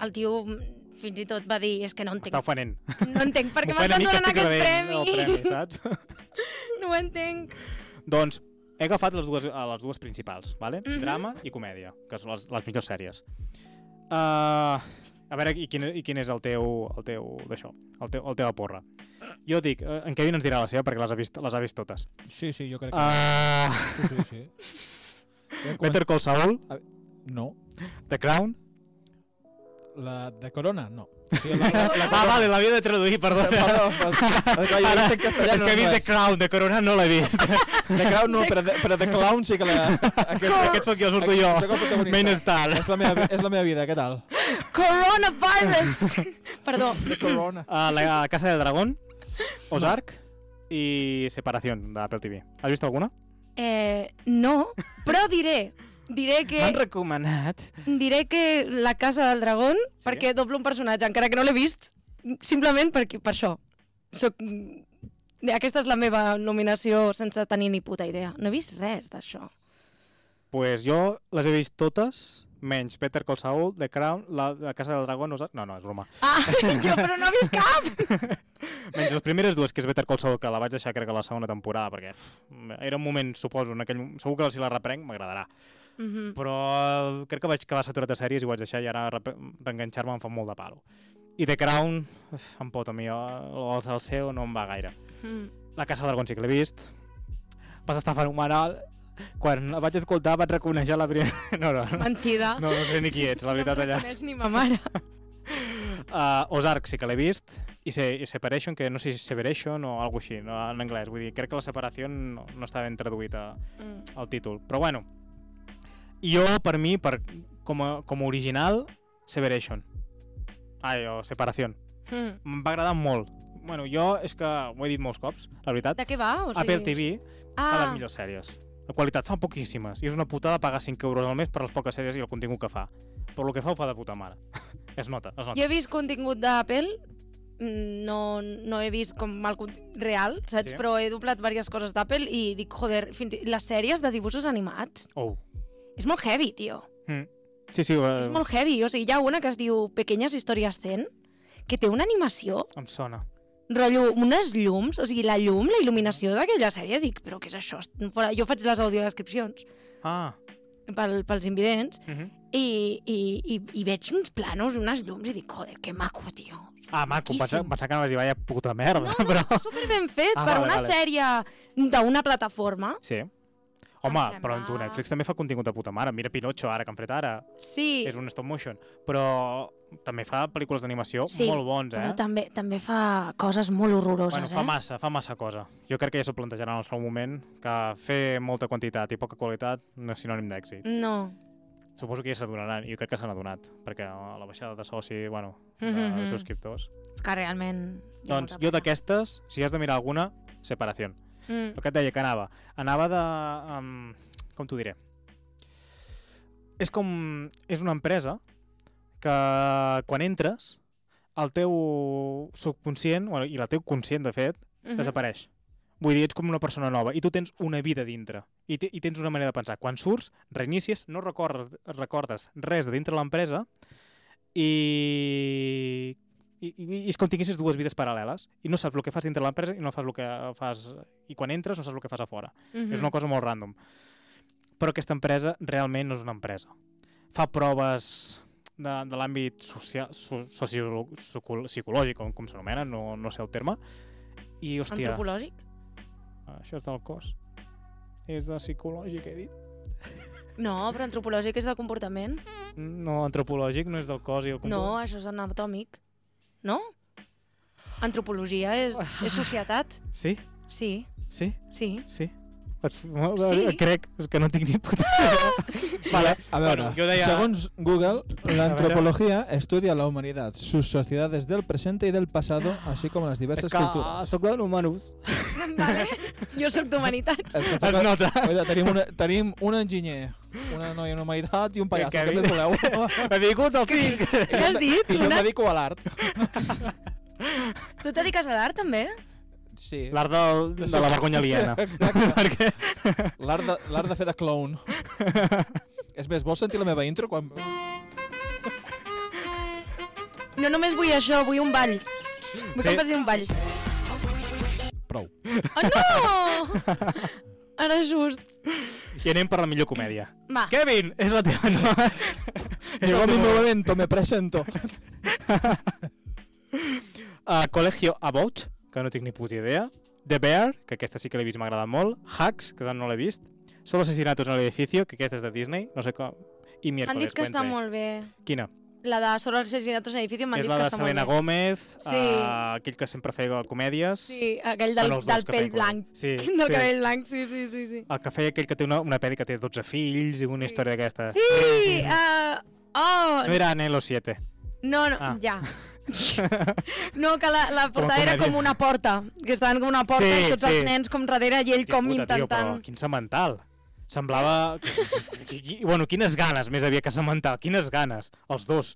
C: el tio fins i tot va dir és que no
B: M'està
C: entenc,
B: ofenent.
C: no entenc per què
B: M'ofèn a
C: m'estan
B: mi que
C: donant
B: estic
C: aquest
B: rebent
C: premi.
B: El premi saps? *laughs*
C: *laughs* No ho entenc.
B: doncs he agafat les dues, eh, les dues principals, vale?
C: Mhm.
B: drama i comèdia, que són les, les millors sèries. Uh, a veure, i quin, i quin és el teu, el teu d'això, el teu, el teva porra. Jo dic, eh, en Kevin ens dirà la seva perquè les ha vist, les ha vist totes.
E: Sí, sí, jo crec que...
B: Uh,
E: Sí, sí, sí. Ja comencem-
B: Better Call Saul,
E: No.
B: The Crown.
E: La de Corona, no. Sí, la, la, la,
B: Va, vale, l'havia de traduir, perdó.
E: Perdó, *laughs* però- clar, jo
B: Ara,
E: no sé en
B: *laughs*
E: castellà,
B: és
E: no
B: que he vist
E: anglès.
B: The Crown, de Corona no l'he vist.
E: The Crown no, però de, però de Clown sí que la... Aquest,
B: Aquest sóc jo, surto jo.
E: Sóc el protagonista.
B: Main Star.
E: És la, meva, és la meva vida, què tal?
C: Coronavirus!
B: *laughs*
C: Perdó.
E: The Corona.
B: a la Casa del Dragón, Ozark i Separación de Apple TV. Has vist alguna?
C: Eh, no, però diré... Diré
B: M'han
C: que,
B: recomanat.
C: diré que la Casa del Dragón,
B: Sí?
C: perquè doblo un personatge, encara que no l'he vist, simplement perquè, per això. Soc... mm, Aquesta és la meva nominació sense tenir ni puta idea. No he vist res d'això.
B: Pues jo les he vist totes, menys Better Call Saul, The Crown, la, la Casa del Dragón, Ozark... No, no, és broma.
C: Ah, *laughs* jo, però no he vist cap!
B: Menys les primeres dues, que és Better Call Saul, que la vaig deixar crec que a la segona temporada, perquè pff, era un moment, suposo, en aquell... mo- segur que si la reprenc m'agradarà.
C: Mhm.
B: Però eh, crec que vaig quedar saturat de sèries i ho vaig deixar i ara rep- reenganxar-me em fa molt de palo. I The Crown, uf, em pot a mi, eh, o el seu no em va gaire.
C: Mm.
B: La Casa del Gonci que l'he vist. Vas estar fenomenal. Quan la vaig escoltar vaig reconèixer la primera... *laughs* No, no, no.
C: Mentida.
B: No, no sé ni qui ets, la veritat,
C: no em
B: allà.
C: reconeix ni ma mare.
B: Uh, Ozark sí que l'he vist, i, se, i Separation, que no sé si és Separation o alguna així, no, en anglès. Vull dir, crec que la separació no, no està ben traduït a,
C: Mm.
B: al títol. Però bueno, jo, per mi, per, com, a, com a original, Separation. Ai, o Separación.
C: Mm.
B: Em va agradar molt. Bueno, jo és que ho he dit molts cops, la veritat.
C: De què va? O sigui...
B: Apple TV, ah. de
C: Ah,
B: les millors sèries. La qualitat fa poquíssimes. I és una putada pagar 5 euros al mes per les poques sèries i el contingut que fa. Però el que fa ho fa de puta mare. *laughs* es nota, es nota.
C: Jo he vist contingut d'Apple, mm, no, no he vist com el conti- real, saps?
B: Sí.
C: Sí. Però he doblat diverses coses d'Apple i dic, joder, fins i les sèries de dibuixos animats.
B: Oh.
C: És molt heavy, tio.
B: Sí, sí,
C: Uh... És
B: eh,
C: molt heavy. O sigui, hi ha una que es diu Pequeñas històries 100, que té una animació,
B: em sona.
C: rotllo, unes llums, o sigui, la llum, la il·luminació d'aquella sèrie, dic, però què és això? Fora- Jo faig les audiodescripcions
B: Ah,
C: pel, pels invidents
B: uh -huh.
C: i, i, i, i veig uns planos, unes llums, i dic, joder, que maco, tio.
B: *laughs* ah maco, pensava,
C: Maquíssim.
B: pensava que no vas dir, vaya puta merda, no,
C: No,
B: no. però...
C: Super ben fet
B: Ah,
C: ah, per
B: vale,
C: una
B: vale.
C: sèrie d'una plataforma.
B: Sí. Home,
C: em
B: però en tu
C: sembla-
B: Netflix també fa contingut de puta mare. Mira Pinocho, ara, que han fet ara.
C: Sí,
B: És un stop motion. Però també fa pel·lícules d'animació
C: Sí,
B: molt bons, eh?
C: però també, també fa coses molt horroroses,
B: Bueno, fa
C: eh?
B: massa, fa massa cosa. Jo crec que ja s'ho plantejaran en el seu moment, que fer molta quantitat i poca qualitat no és sinònim d'èxit.
C: No. Mm.
B: Suposo que ja s'adonaran, i jo crec que s'han adonat, perquè eh, la baixada de soci, bueno, de,
C: Mhm, mhm.
B: de subscriptors...
C: És que realment... hi ha
B: Doncs
C: molta
B: jo
C: pena.
B: d'aquestes, si has de mirar alguna, Separación.
C: Mm.
B: El que et deia que anava. Anava de... Um, com t'ho diré? És com... És una empresa que quan entres, el teu subconscient, bueno, i el teu conscient, de fet,
C: Mhm.
B: desapareix. Vull dir, ets com una persona nova i tu tens una vida dintre i, te, i tens una manera de pensar. Quan surts, reinicies, no recordes, recordes res de dintre l'empresa i, i, i, i és com tinguessis dues vides paral·leles i no saps el que fas dintre l'empresa i no fas el que fas i quan entres no saps el que fas a fora.
C: Mhm.
B: És una cosa molt random. Però aquesta empresa realment no és una empresa. Fa proves de, de l'àmbit socia- so- socio- psicol- psicològic, com, com s'anomena, no, no sé el terme, i, hòstia,
C: mm-hmm. Antropològic?
B: això és del cos. És de psicològic, he dit.
C: No, però antropològic és del comportament.
B: No, antropològic no és del cos i el
C: No,
B: comportament.
C: això és anatòmic. No? Antropologia és, és societat.
B: Sí?
C: Sí,
B: Sí?
C: sí.
B: Sí? Et, sí.
C: Sí.
B: eh, Crec, és que no tinc ni puta idea. vale.
E: A veure,
B: Bueno, jo deia-
E: segons Google, la antropología estudia la humanidad, sus sociedades del presente y del pasado, así como las diversas
B: És que
E: culturas.
B: sóc de l'humanus.
C: Vale. Jo
B: *laughs*
C: sóc d'humanitats.
E: Es que
B: Es
E: toca-
B: nota.
E: Oye, tenim, una, tenim un enginyer, una noia en humanitats i un pallasso.
B: Que-
E: Què
B: que-
E: més voleu?
B: Benvinguts al cinc.
C: Què has dit?
E: I jo em
C: Una...
E: dedico a l'art.
C: Tu et dediques a l'art, també?
E: Sí.
B: L'art del, de la vergonya
E: *laughs*
B: aliena. Perquè...
E: L'art de, l'art de fer de clown. És més, vols sentir la meva intro? Quan...
C: No només vull això, vull un ball. Vull que
B: Sí.
C: em facis un ball.
E: Prou.
C: Oh, no!
B: *laughs*
C: Ara just.
B: I anem per la millor comèdia.
C: Va.
B: Kevin, és la teva
C: *laughs*
B: nova.
E: Llegó mi momento, me presento.
B: uh, Colegio About, que no tinc ni puta idea. The Bear, que aquesta sí que l'he vist, m'ha agradat molt. Hacks, que tant no l'he vist. Solo asesinatos en el edificio, que aquesta és de Disney, no sé com. I
C: M'han
B: Miércoles,
C: dit que està
B: Wednesday.
C: molt bé.
B: Quina?
C: La de Solo els assassinatos en edifici m'han
B: eh. És
C: dit
B: la
C: que
B: de
C: està molt bé.
B: Selena Gómez,
C: Sí.
B: sí. uh, aquell que sempre feia comèdies.
C: Sí, aquell del,
B: Bueno, els dos
C: del
B: que feien
C: pell blanc.
B: comèdies.
C: *laughs*
B: Sí,
C: Del
B: sí.
C: cabell blanc, sí, sí, sí. sí.
B: El que feia aquell que té una, una pel·li que té 12 fills i una
C: Sí.
B: història d'aquesta.
C: Sí, uh, oh,
B: No era Anhelo 7.
C: no, no,
B: Ah. *laughs*
C: ja. No, que la, la portada era
B: comèdia.
C: com una porta, que estaven com una porta
B: Sí,
C: i tots
B: sí.
C: els nens com darrere i ell
B: Hòstia
C: com
B: puta, tio,
C: intentant...
B: però quin semental. Semblava... I, i, bueno, quines ganes, més havia que semental. Quines ganes. Els dos.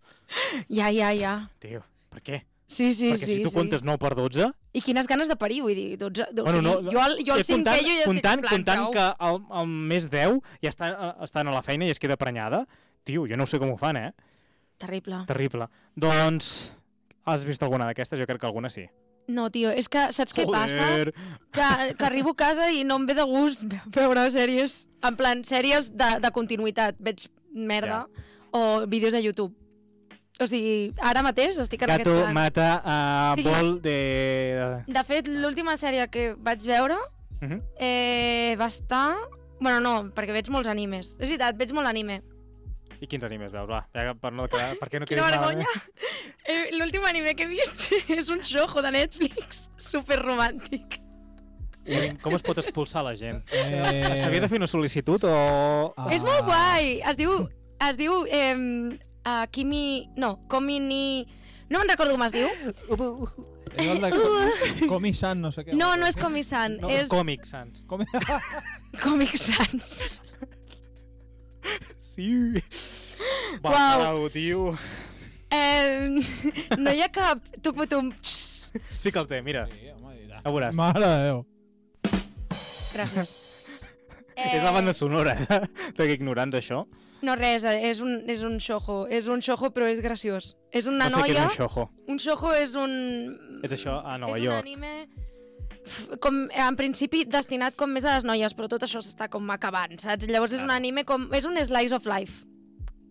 C: Ja, ja, ja.
B: Tio, per què?
C: Sí, sí,
B: Perquè
C: sí.
B: si tu
C: sí.
B: comptes 9 per 12...
C: I quines ganes de parir, vull dir, 12... O
B: Bueno,
C: sigui,
B: no,
C: jo, al, jo
B: eh,
C: el cinquè jo ja
B: comptant,
C: estic en plan,
B: comptant
C: prou.
B: que el, el mes 10 ja està, eh, estan a la feina i es queda prenyada. Tio, jo no sé com ho fan, eh?
C: Terrible.
B: Terrible. Doncs... Has vist alguna d'aquestes? Jo crec que alguna sí.
C: No, tio, és que saps què passa?
B: Joder.
C: que, que arribo a casa i no em ve de gust ve- veure sèries, en plan, sèries de, de continuïtat. Veig merda o vídeos de YouTube. O sigui, ara mateix estic en
B: Gato
C: aquest plan.
B: mata a
C: Sí.
B: bol de...
C: De fet, l'última sèrie que vaig veure
B: Uh -huh.
C: eh, va estar... Bueno, no, perquè veig molts animes. És veritat, veig molt anime.
B: I quins animes veus, va? Ja, per, no quedar, per què no
C: Quina
B: quedis
C: vergonya! Eh, L'últim anime que he vist *laughs* és un xojo de Netflix *laughs* superromàntic.
B: malament? Com es pot expulsar la gent?
E: Eh...
B: S'havia de fer una sol·licitud o...
E: Ah.
C: És molt guai. Es diu... Es diu... Eh, uh, Kimi... No, Komi ni... No me'n recordo com es diu.
E: Era el de
C: *laughs*
E: com, Comi-san, no sé què.
C: No, no és Komi-san.
B: No, és
C: és
B: còmic, Sans.
E: Comi...
C: Comic Sans.
B: Sí. Va,
C: Uau.
B: parau, tio.
C: Eh, no hi ha cap... Tuc-putum. Tss.
B: Sí que els té, mira.
E: *laughs* Sí, home, i tant.
B: A veuràs.
E: Mare de Ah, Déu.
C: Gràcies.
B: *laughs* És la banda sonora eh? de que ignorants, això.
C: No, res, eh, és un, és un xojo. És un xojo, però és graciós. És una
B: no sé què és
C: noia...
B: un xojo.
C: un xojo és un...
B: És això a Nova
C: és
B: York.
C: un anime f- com, en principi destinat com més a les noies, però tot això s'està com acabant, saps? Llavors és un
B: Claro.
C: anime com... És un slice of life,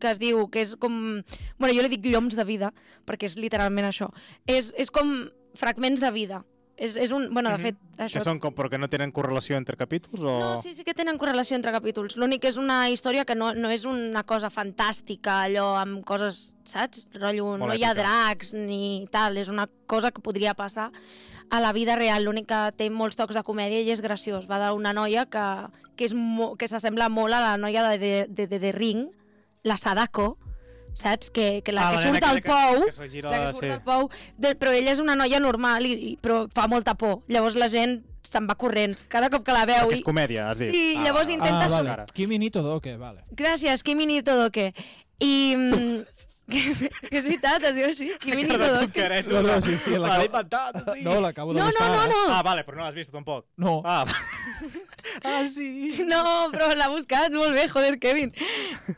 C: que es diu, que és com... Bueno, jo li dic lloms de vida, perquè és literalment això. És, és com fragments de vida. És, és un... Bueno, de
B: Mhm.
C: fet,
B: Que
C: això...
B: són com, però que no tenen correlació entre capítols? O...
C: No, sí, sí que tenen correlació entre capítols. L'únic que és una història que no, no és una cosa fantàstica, allò amb coses, saps? Rotllo,
B: Molt
C: no hi ha
B: èpica.
C: dracs ni tal, és una cosa que podria passar a la vida real. L'únic que té molts tocs de comèdia i és graciós. Va d'una noia que, que, és mo que s'assembla molt a la noia de, de, de, de The Ring, la Sadako, saps? Que, que la ah, que
B: nena
C: surt al
B: aquella
C: pou...
B: Que, que se gira,
C: La que surt
B: sí.
C: del pou, de, però ella és una noia normal, i, i, però fa molta por. Llavors la gent se'n va corrents. Cada cop que la veu...
B: Perquè és comèdia, has dit.
C: Sí, llavors intenta
E: ah,
C: sor-
E: vale. Kimi Nito Doke, vale.
C: Gràcies, Kimi ni todo que. I... mm, que, és, que és veritat, es diu així, Kimi ni todo que.
E: No, no, sí, sí, la-
B: l'ha inventat, sí.
E: No, l'acabo de
C: No, no,
E: buscar
C: no,
E: ara.
C: no.
B: Ah, vale, però no l'has vist tampoc.
E: No,
B: Ah,
C: *laughs*
B: ah sí.
C: No, però l'ha buscat molt bé, joder, Kevin.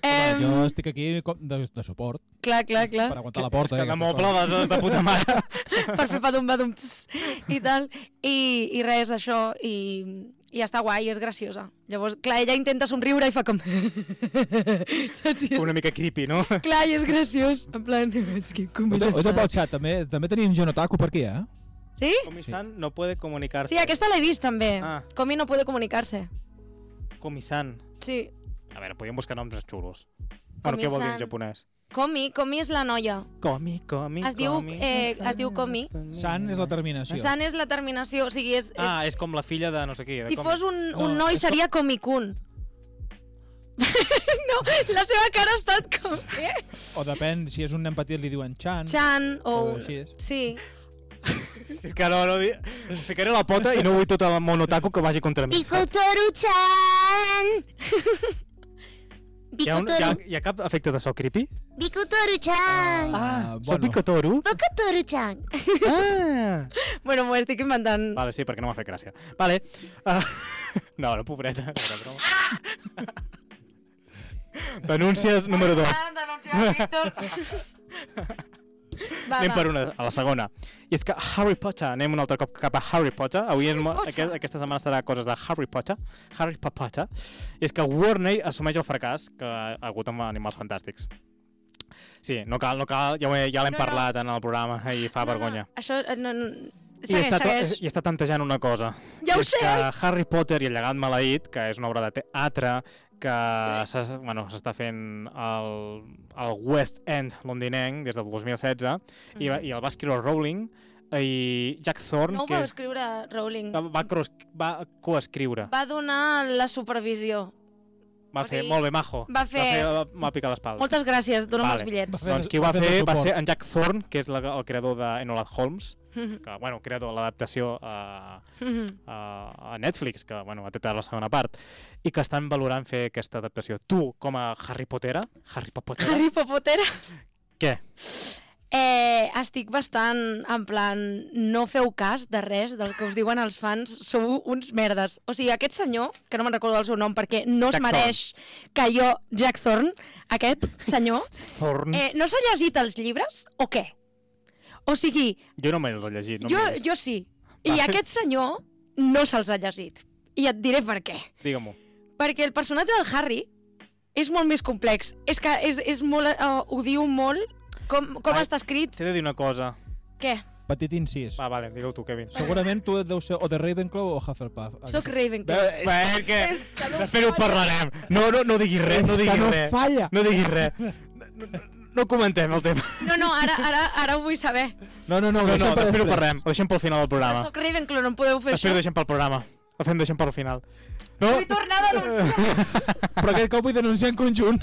E: eh,
C: Em,
E: jo estic aquí com de, de suport
C: clar, clar, clar.
E: per aguantar la porta.
B: Que
E: eh,
B: de
E: aquestes
B: moble
E: coses.
B: vas de puta
C: *laughs*
B: mare.
C: per fer padum badum tss, i tal. I, i res, això, i, i està guai, és graciosa. Llavors, clar, ella intenta somriure i fa com... *laughs* Saps? I és,
B: Una mica creepy,
C: *laughs*
B: no?
C: clar, i és graciós. En plan, és que com
E: Escolta, Escolta pel xat, també, també tenim John Otaku per aquí, eh?
C: Sí?
B: Comisant no puede comunicarse.
C: Sí, aquesta l'he vist també.
B: Ah.
C: Comi no puede comunicar-se.
B: Comisant.
C: Sí.
B: A veure, podíem buscar noms xulos. Bueno, què vol dir en
C: Comisant.
B: japonès?
C: Comi, Comi és la noia.
B: Comi, comi,
C: Es diu,
B: comi.
C: eh, es diu Comi.
B: Mm.
E: San és la terminació.
C: San és la terminació, o sigui, és... és
B: Ah, és com la filla de no sé qui. de
C: si
B: Comi.
C: fos un,
E: No,
C: un noi
E: és com-
C: seria Comi-kun. *laughs* no, la seva cara ha estat com... Eh?
E: O depèn, si és un nen petit li diuen Chan.
C: Chan o...
E: o
C: un-
E: Així és.
C: Sí.
B: És que no, no, di- ficaré la pota i no vull tot el monotaco que vagi contra mi. saps?
D: Bikotoru-chan!
B: Hi ha, un, hi, ha,
D: Bikotoru...
B: hi ha cap efecte de so creepy?
D: Bikotoru-chan!
E: Ah,
B: Soc
C: *laughs*
B: Picotoro?
D: Bikotoru-chan!
B: Ah!
C: Bueno, m'ho estic inventant.
B: Vale, sí, perquè no m'ha fet gràcia. Vale. Uh, *laughs* no, no, pobreta. Era broma.
C: *laughs*
B: Denúncies número 2.
C: Ah,
B: *laughs*
C: Va,
B: Anem
C: va.
B: per una, a la segona. I és que Harry Potter, anem un altre cop cap a Harry Potter. Avui Harry
C: Potter.
B: Aquest, aquesta setmana serà coses de Harry Potter. Harry Pa- Potter. I és que Warner assumeix el fracàs que ha hagut amb Animals Fantàstics. Sí, no cal, no cal, ja, ho he- ja l'hem
C: No, no.
B: parlat en el programa i fa vergonya.
C: No, no, això... eh, No, no.
B: I
C: Segueix,
B: està, to-
C: segueix.
B: I està tantejant una cosa.
C: Ja ho
B: que és
C: sé!
B: Que Harry Potter i el llegat maleït, que és una obra de teatre que s'ha- bueno, s'està fent al, al West End londinenc des del 2016 i, va, i el va escriure Rowling i Jack Thorne,
C: Mm. No ho
B: que
C: va escriure Rowling.
B: va, va, cros- va coescriure.
C: Va donar la supervisió.
B: Va
C: o
B: fer,
C: sigui,
B: molt bé, majo.
C: va fer-
B: Va, fer, va picar l'espalda.
C: Moltes gràcies, dona'm
B: Vale.
C: els
B: *laughs*
C: bitllets.
E: fer-
B: Doncs qui ho va
E: va fer de
B: fer va
E: suport.
B: ser en Jack Thorne, que és la, el creador d'Enola Holmes, que, bueno, creador, l'adaptació eh, a, a a Netflix, que bueno, ha tret ara la segona part, i que estan valorant fer aquesta adaptació. Tu, com a Harry Pottera, Harry Potter,
C: Harry Popotera.
B: què?
C: Eh, estic bastant en plan, no feu cas de res del que us diuen els fans, sou uns merdes. O sigui, aquest senyor, que no me'n recordo el seu nom perquè no es
B: Jack
C: mereix que jo, Jack Thorne, aquest
B: *laughs*
C: senyor,
B: Thorne?
C: eh, no s'ha llegit els llibres o què? O sigui,
B: Jo no me'ls he llegit. No
C: jo,
B: me'ls he vist.
C: jo sí, i
B: Vale.
C: aquest senyor no se'ls ha llegit. I et diré per què.
B: Digue-m'ho.
C: Perquè el personatge del Harry és molt més complex. És que és, és molt, uh, ho diu molt com, com
B: Ai.
C: està escrit.
B: T'he de dir una cosa.
C: Què?
E: Petit incís.
B: Va, vale, digue-ho tu, Kevin.
E: Segurament tu et deus ser o de Ravenclaw o Hufflepuff.
C: Soc Ravenclaw.
E: Bé,
B: Bé, que... Després ho parlarem. No, no, no diguis res,
E: és
B: no
E: que
B: diguis
E: no
B: res.
E: falla.
B: No diguis res. No, no, no comentem el tema.
C: No, no, ara, ara, ara ho vull saber.
E: No, no, no,
B: No, no,
E: deixem per
B: després ho
E: després.
B: parlem. Ho deixem pel final del
C: Ah.
B: programa.
C: Soc Ravenclaw, no em podeu fer
B: Després ho
C: això.
B: deixem pel programa. Ho fem deixem pel final. No?
C: Vull tornar a denunciar.
E: Però aquest cop vull denunciar en
B: *laughs*
E: conjunt.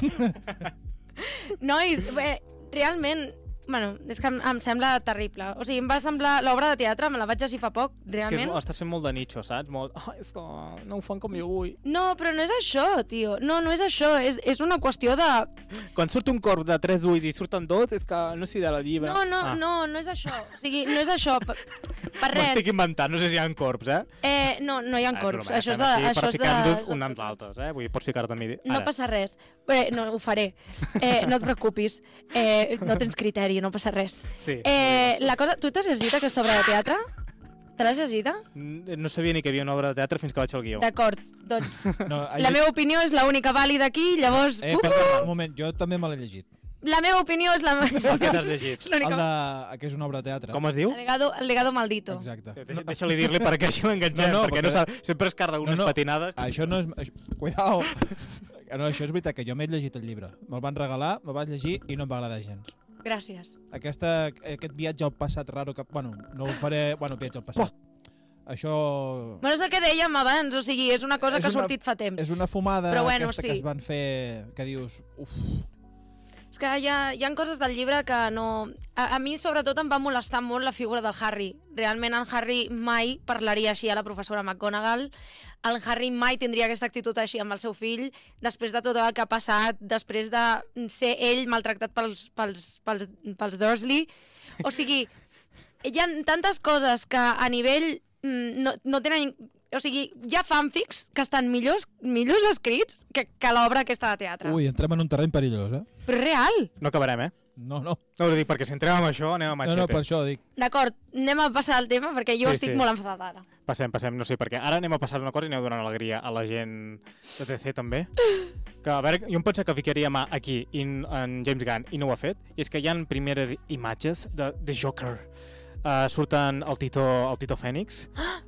C: Nois, bé, realment, bueno, és que em, em sembla terrible. O sigui, em va semblar l'obra de teatre, me la vaig llegir fa poc,
B: És que és,
C: realment.
B: estàs fent molt de nicho, saps? Molt... Oh, és que no ho fan com jo vull.
C: No, però no és això, tio. No, no és això. És, és una qüestió de...
B: Quan surt un cor de tres ulls i surten dos, és que no sé de la llibre.
C: No, no, no, no és això. O sigui, no és això. Per, per
B: ah.
C: res.
B: *laughs* M'estic inventant, no sé si hi ha corps, eh?
C: Eh, no, no hi ha
B: Ah,
C: corps.
B: broma,
C: Això és
B: estem Aquí
C: de... Això és de...
B: practicant-ho
C: soc
B: un amb
C: de corps.
B: l'altre, eh? Vull dir, pots ficar-te amb mi.
C: No
B: Ara,
C: passa res. Bé, no, ho faré. Eh, no et preocupis. Eh, no tens criteri, no passa res.
B: Sí.
C: Eh, la cosa... Tu t'has llegit aquesta obra de teatre? Te l'has llegida?
B: N- No sabia ni que hi havia una obra de teatre fins que vaig al guió.
C: D'acord, doncs...
E: *laughs* No,
C: La meva opinió és l'única vàlida aquí, llavors...
E: Eh,
C: Uh,
E: perdó, un moment, jo també me l'he llegit.
C: La meva opinió *laughs* és la...
B: El que t'has llegit.
C: és
E: El
C: l'única...
E: de... que és una obra de teatre.
B: Com es diu?
C: El legado, el legado maldito.
E: Exacte.
B: Deixa- Deixa-li dir-li per què així l'enganxem,
E: No, no,
B: perquè no
E: perquè-
B: sap, sempre es carda unes
E: no.
B: patinades.
E: Això no és... Això... Cuidao! No, això és veritat, que jo m'he llegit el llibre. Me'l van regalar, me'l vaig llegir i no em va agradar gens.
C: Gràcies.
E: Aquesta, aquest viatge al passat raro que... Bueno, no ho faré... Bueno, viatge al passat. Això...
C: Bueno, és el que dèiem abans, o sigui, és una cosa
E: És
C: que ha
E: una-
C: sortit fa temps.
E: És una fumada
C: Però bueno,
E: aquesta
C: sí.
E: que es van fer... Que dius... Uf,
C: És que hi ha, hi ha coses del llibre que no... A, a mi, sobretot, em va molestar molt la figura del Harry. Realment, el Harry mai parlaria així a la professora McGonagall. El Harry mai tindria aquesta actitud així amb el seu fill, després de tot el que ha passat, després de ser ell maltractat pels, pels, pels, pels Dursley. O sigui, hi ha tantes coses que a nivell mm, no, no tenen... O sigui, hi ha fanfics que estan millors, millors escrits que, que l'obra aquesta de teatre.
E: ui, entrem en un terreny perillós, eh?
C: Però és real!
B: No acabarem, eh?
E: No, no.
B: No, ho dic perquè si entrem amb això anem a
E: No,
B: machete.
E: no, per això dic. *laughs*
C: D'acord, anem a passar al tema perquè
B: Sí,
C: jo sí, estic
B: sí.
C: sí. molt enfadada ara.
B: Passem, passem, no sé, perquè ara anem a passar una cosa i aneu donant alegria a la gent de TC *laughs* també. Que, a veure, jo em pensava que ficaria mà aquí i en en James Gunn i no ho ha fet, i és que hi han primeres imatges de, de Joker. Uh, surten el Tito, el *gasps* Tito Fènix,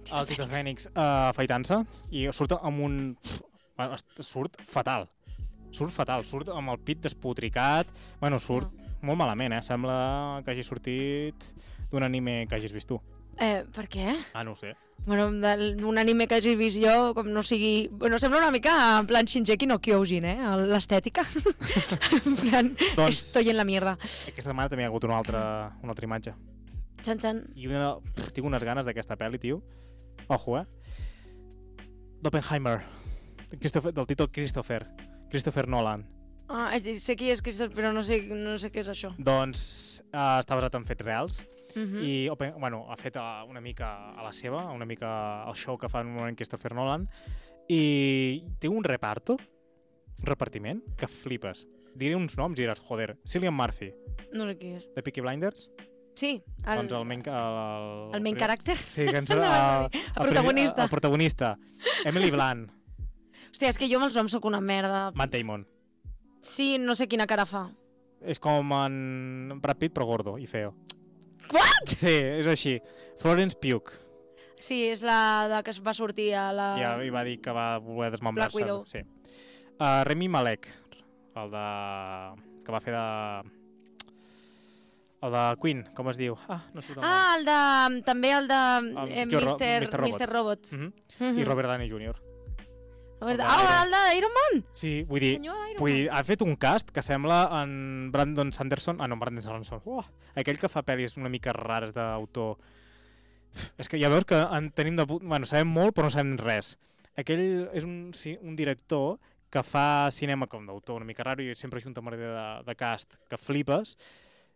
B: el Tito Fènix uh, afaitant-se i surt amb un... Bueno, est- surt fatal. Surt fatal, surt amb el pit despotricat, bueno, surt molt malament, eh? Sembla que hagi sortit d'un anime que hagis vist tu.
C: Eh, per què?
B: Ah, no ho sé.
C: Bueno, del- un anime que hagi vist jo, com no sigui... Bueno, sembla una mica en plan Shinjeki no Kyojin, eh? el-
B: *laughs*
C: L'estètica. en plan,
B: Doncs-
C: doncs... estoy en la mierda.
B: Aquesta setmana també hi ha hagut una altra, una altra imatge.
C: Xan, xan.
B: I una, pff, tinc unes ganes d'aquesta pel·li, tio. Ojo, eh? D'Oppenheimer. Christopher, del títol Christopher. Christopher Nolan.
C: Ah, és a dir, sé qui és Crystal, però no sé, no sé què és això.
B: Doncs eh, està basat en fets reals
C: Mm -hmm. I...
B: i Open, bueno, ha fet eh, una mica a la seva, una mica el show que fa en un moment Christopher Nolan i té un reparto, un repartiment, que flipes. Diré uns noms i diràs, joder, Cillian Murphy,
C: No sé qui és.
B: de Peaky Blinders,
C: Sí,
B: el,
C: el,
B: doncs el main... El,
C: el main character.
B: Sí, que ens...
C: *laughs*
B: El,
C: No, no, no,
B: el,
C: no.
B: primer-
C: El protagonista.
B: El protagonista. Emily Blunt,
C: Hòstia, és que jo amb els noms sóc una merda.
B: Matt Damon.
C: Sí, no sé quina cara fa.
B: És com en Brad Pitt, però gordo i feo.
C: What?
B: Sí, és així. Florence Pugh.
C: Sí, és la de que es va sortir a la...
B: Ja hi va dir que va voler desmembrar-se.
C: Ah. Black Widow.
B: Sí. Uh, Remy Malek, el de... que va fer de... El de Queen, com es diu? Ah, no surt el nom.
C: Ah, el de... també el de eh,
B: Mr. Ro-
C: Mr.
B: Mr. Robot.
C: Mr. Robot. Mr. Robot.
B: Mhm.
C: Mhm.
B: I Robert Downey Jr.
C: Robert-
B: el de
C: Ah, el d'Iron Man!
B: Sí, vull dir,
C: Senyor Iron
B: Vull dir,
C: Man.
B: ha fet un cast que sembla en Brandon Sanderson... Ah, no, en Brandon Sanderson. Uah, aquell que fa pel·lis una mica rares d'autor... És que ja veus que en tenim de... pu- Bueno, sabem molt, però no sabem res. Aquell és un, sí, un director que fa cinema com d'autor una mica raro i sempre junta amb una idea de, de cast que flipes